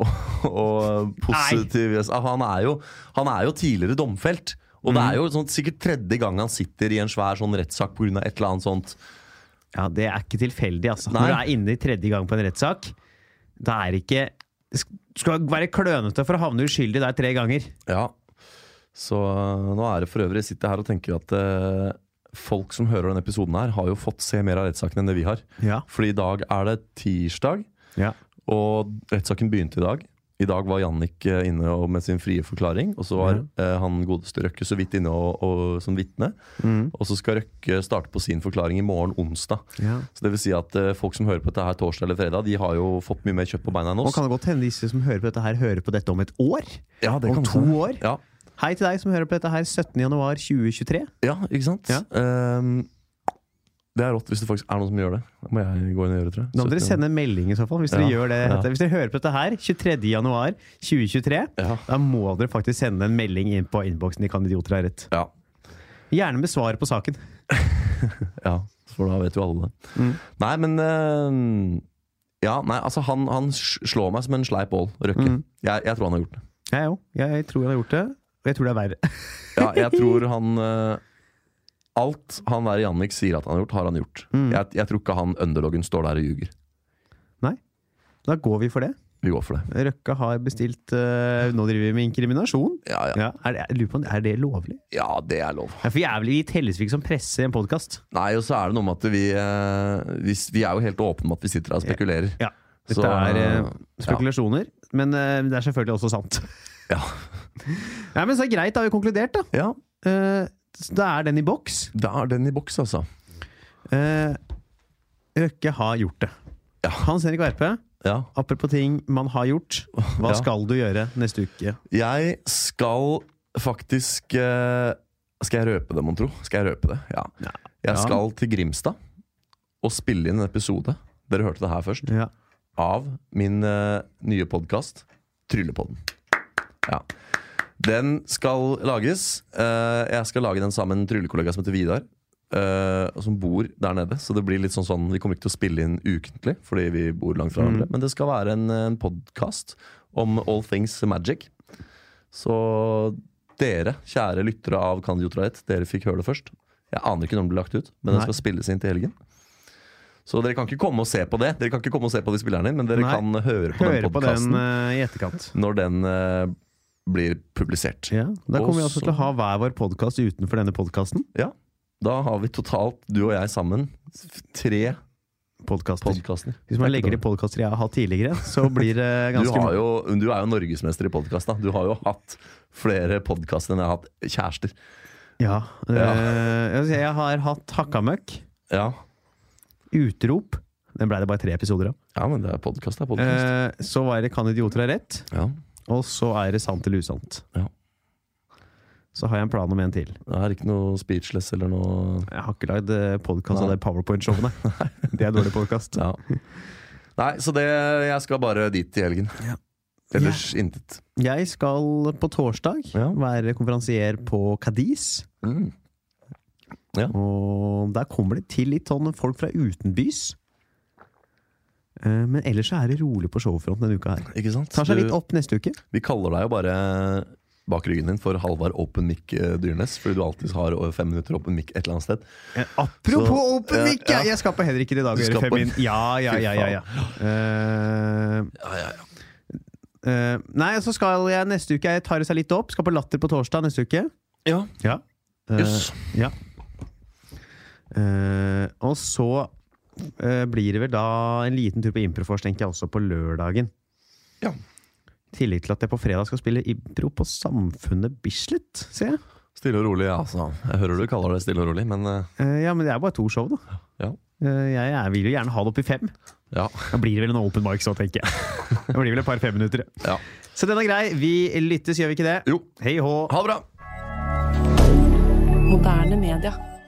[SPEAKER 3] og, og positiv Ah, han, er jo, han er jo tidligere domfelt. Og det er jo sånn, sikkert tredje gang han sitter i en svær sånn rettssak pga. et eller annet sånt.
[SPEAKER 2] Ja, det er ikke tilfeldig, altså.
[SPEAKER 3] Nei.
[SPEAKER 2] Når du er inne i tredje gang på en rettssak, da er det ikke Du skal være klønete for å havne uskyldig der tre ganger.
[SPEAKER 3] Ja. Så øh, nå er det for øvrig Jeg sitter her og tenker at øh, folk som hører denne episoden her, har jo fått se mer av rettssaken enn det vi har.
[SPEAKER 2] Ja.
[SPEAKER 3] Fordi i dag er det tirsdag,
[SPEAKER 2] Ja.
[SPEAKER 3] og rettssaken begynte i dag. I dag var Jannik øh, inne og- med sin frie forklaring, og så var øh, han godeste Røkke så vidt inne og, og, som vitne.
[SPEAKER 2] Mm.
[SPEAKER 3] Og så skal Røkke starte på sin forklaring i morgen, onsdag. Så det vil si at øh, folk som hører på dette her torsdag eller fredag, de har jo fått mye mer kjøtt på beina enn
[SPEAKER 2] Og
[SPEAKER 3] oss.
[SPEAKER 2] kan det godt hende disse som hører på dette her, hører på dette om et år?
[SPEAKER 3] Ja, det
[SPEAKER 2] om
[SPEAKER 3] kan
[SPEAKER 2] to
[SPEAKER 3] hende.
[SPEAKER 2] år?
[SPEAKER 3] Ja,
[SPEAKER 2] Hei til deg som hører på dette her 17.1.2023.
[SPEAKER 3] Ja, ikke sant?
[SPEAKER 2] Ja.
[SPEAKER 3] Ehm, det er rått hvis det faktisk er noen som gjør det. Da må jeg gå inn og gjøre det, tror jeg.
[SPEAKER 2] Da må dere
[SPEAKER 3] Så-
[SPEAKER 2] sende en melding i så fall, hvis dere,
[SPEAKER 3] Ja,
[SPEAKER 2] gjør det.
[SPEAKER 3] ja.
[SPEAKER 2] Hvis dere hører på dette her 23.1.2023,
[SPEAKER 3] Ja.
[SPEAKER 2] da må dere faktisk sende en melding inn på innboksen i Kan idioter ha rett.
[SPEAKER 3] Ja,
[SPEAKER 2] Gjerne med svar på saken.
[SPEAKER 3] ja, for da vet jo alle det.
[SPEAKER 2] Mm.
[SPEAKER 3] Nei, men ehm, Ja, nei, altså han, han s- slår meg som en sleip ål, Røkke.
[SPEAKER 2] Mm.
[SPEAKER 3] Jeg, jeg tror han har gjort det.
[SPEAKER 2] Jeg òg. Jeg tror han har gjort det. Og jeg tror det er verre.
[SPEAKER 3] Ja, jeg tror han eh, Alt han der Jannik sier at han har gjort, har han gjort.
[SPEAKER 2] Mm.
[SPEAKER 3] Jeg, jeg tror ikke han underdogen står der og ljuger.
[SPEAKER 2] Nei. Da går vi for det.
[SPEAKER 3] Vi går for det.
[SPEAKER 2] Røkke har bestilt eh, Nå driver vi med inkriminasjon.
[SPEAKER 3] Ja, ja.
[SPEAKER 2] Ja, er, det, jeg lurer på, om- er det lovlig?
[SPEAKER 3] ja det er lov.
[SPEAKER 2] Ja, for jævlig, vi telles vi ikke som presse i en podkast.
[SPEAKER 3] Nei, og så er det noe med at vi, eh, vi, s- vi er jo helt åpne om at vi sitter her og spekulerer.
[SPEAKER 2] Ja. Dette
[SPEAKER 3] Så,
[SPEAKER 2] er eh,
[SPEAKER 3] ja.
[SPEAKER 2] spekulasjoner, men eh, det er selvfølgelig også sant.
[SPEAKER 3] Ja.
[SPEAKER 2] Nei, men så er det greit, da har vi konkludert, da.
[SPEAKER 3] ja.
[SPEAKER 2] Eh, så da er den i boks.
[SPEAKER 3] Da er den i boks, altså.
[SPEAKER 2] Eh, Røkke har gjort det.
[SPEAKER 3] Ja.
[SPEAKER 2] Hans Henrik Verpe,
[SPEAKER 3] Ja.
[SPEAKER 2] apropos ting man har gjort, hva
[SPEAKER 3] Ja.
[SPEAKER 2] skal du gjøre neste uke?
[SPEAKER 3] Jeg skal faktisk eh, Skal jeg røpe det, mon tro? Skal jeg røpe det? Ja.
[SPEAKER 2] Ja. Ja.
[SPEAKER 3] Jeg skal til Grimstad og spille inn en episode, dere hørte det her først,
[SPEAKER 2] Ja.
[SPEAKER 3] av min eh, nye podkast Tryllepodden. Ja. Den skal lages. Eh, jeg skal lage den sammen med en tryllekollega som heter Vidar. eh, og som bor der nede. Så det blir litt sånn sånn Vi kommer ikke til å spille inn ukentlig, fordi vi bor langt fra hverandre. Men det skal være en, en podkast om all things magic. Så dere, kjære lyttere av Kan idiot rett, dere fikk høre det først. Jeg aner ikke når den blir lagt ut, men den
[SPEAKER 2] Nei.
[SPEAKER 3] skal spilles inn til helgen. Så dere kan ikke komme og se på det. Dere kan ikke komme og se på de spillerne, men dere
[SPEAKER 2] Nei.
[SPEAKER 3] kan høre på
[SPEAKER 2] Høre
[SPEAKER 3] den
[SPEAKER 2] på den
[SPEAKER 3] podkasten
[SPEAKER 2] eh, i etterkant.
[SPEAKER 3] når den eh, blir publisert.
[SPEAKER 2] Ja, Da
[SPEAKER 3] Og
[SPEAKER 2] kommer vi også
[SPEAKER 3] så-
[SPEAKER 2] til å ha hver vår podkast utenfor denne podkasten.
[SPEAKER 3] Ja. Da har vi totalt, du og jeg sammen, f- tre
[SPEAKER 2] Podkaster.
[SPEAKER 3] podkaster.
[SPEAKER 2] Hvis man legger til podkaster jeg har hatt tidligere, så blir det
[SPEAKER 3] Du,
[SPEAKER 2] ganske
[SPEAKER 3] har jo, du er jo norgesmester i podkast. Du har jo hatt flere podkaster enn jeg har hatt kjærester.
[SPEAKER 2] Ja. eh, jeg vil si, jeg har hatt Hakkamøkk,
[SPEAKER 3] Ja,
[SPEAKER 2] Utrop Den blei det bare tre episoder av.
[SPEAKER 3] ja men det er podkast. podcast.
[SPEAKER 2] Eh, så var det Kan idioter ha rett,
[SPEAKER 3] ja.
[SPEAKER 2] og så er det Sant eller usant.
[SPEAKER 3] Ja.
[SPEAKER 2] Så har jeg en plan om en til.
[SPEAKER 3] Det er ikke noe speechless eller noe
[SPEAKER 2] Jeg har ikke lagd podkast av
[SPEAKER 3] Nei.
[SPEAKER 2] det PowerPoint-showene. Det er dårlig podkast.
[SPEAKER 3] ja. Nei, så det Jeg skal bare dit i helgen.
[SPEAKER 2] Ja.
[SPEAKER 3] Ellers intet.
[SPEAKER 2] Jeg skal på torsdag
[SPEAKER 3] Ja.
[SPEAKER 2] være konferansier på Cadiz.
[SPEAKER 3] Mm.
[SPEAKER 2] Og der kommer det til litt sånn folk fra utenbys. Eh, Men ellers så er det rolig på showfronten denne uka her.
[SPEAKER 3] Ikke sant?
[SPEAKER 2] Tar seg
[SPEAKER 3] Du-
[SPEAKER 2] litt opp neste uke.
[SPEAKER 3] Vi kaller deg jo bare bak ryggen din for Halvard Open Mic eh, Dyrnes, fordi du alltid har over fem minutter Open Mic et eller annet sted.
[SPEAKER 2] Eh, Apropos
[SPEAKER 3] Så,
[SPEAKER 2] Open
[SPEAKER 3] ja,
[SPEAKER 2] Mic! jeg-
[SPEAKER 3] ja.
[SPEAKER 2] Jeg skal på Henriken i dag og
[SPEAKER 3] Du
[SPEAKER 2] gjøre
[SPEAKER 3] skal på-
[SPEAKER 2] femin. Ja, ja, ja. ja, ja. Eh,
[SPEAKER 3] Ja, ja, ja.
[SPEAKER 2] eh, nei, så skal jeg neste uke Jeg tar det seg litt opp. Skal på Latter på torsdag neste uke.
[SPEAKER 3] Ja,
[SPEAKER 2] Ja. Eh,
[SPEAKER 3] jøss.
[SPEAKER 2] ja. Eh, og så eh, blir det vel da en liten tur på Improfors, tenker jeg, også på lørdagen.
[SPEAKER 3] Ja.
[SPEAKER 2] I tillegg til at jeg på fredag skal spille impro på Samfunnet Bislett, ser jeg.
[SPEAKER 3] Stille og rolig, ja. Altså. Jeg hører du kaller det stille og rolig, men eh,
[SPEAKER 2] Eh, ja, men det er bare to show, da.
[SPEAKER 3] ja.
[SPEAKER 2] Eh, jeg, jeg vil jo gjerne ha det opp i fem.
[SPEAKER 3] Ja.
[SPEAKER 2] Da blir det vel en open mic, så tenker jeg. Det blir vel et par femminutter.
[SPEAKER 3] ja.
[SPEAKER 2] Så den er grei. Vi lyttes, gjør vi ikke det?
[SPEAKER 3] Jo.
[SPEAKER 2] Hei hå.
[SPEAKER 3] Ha det bra!
[SPEAKER 1] Moderne media.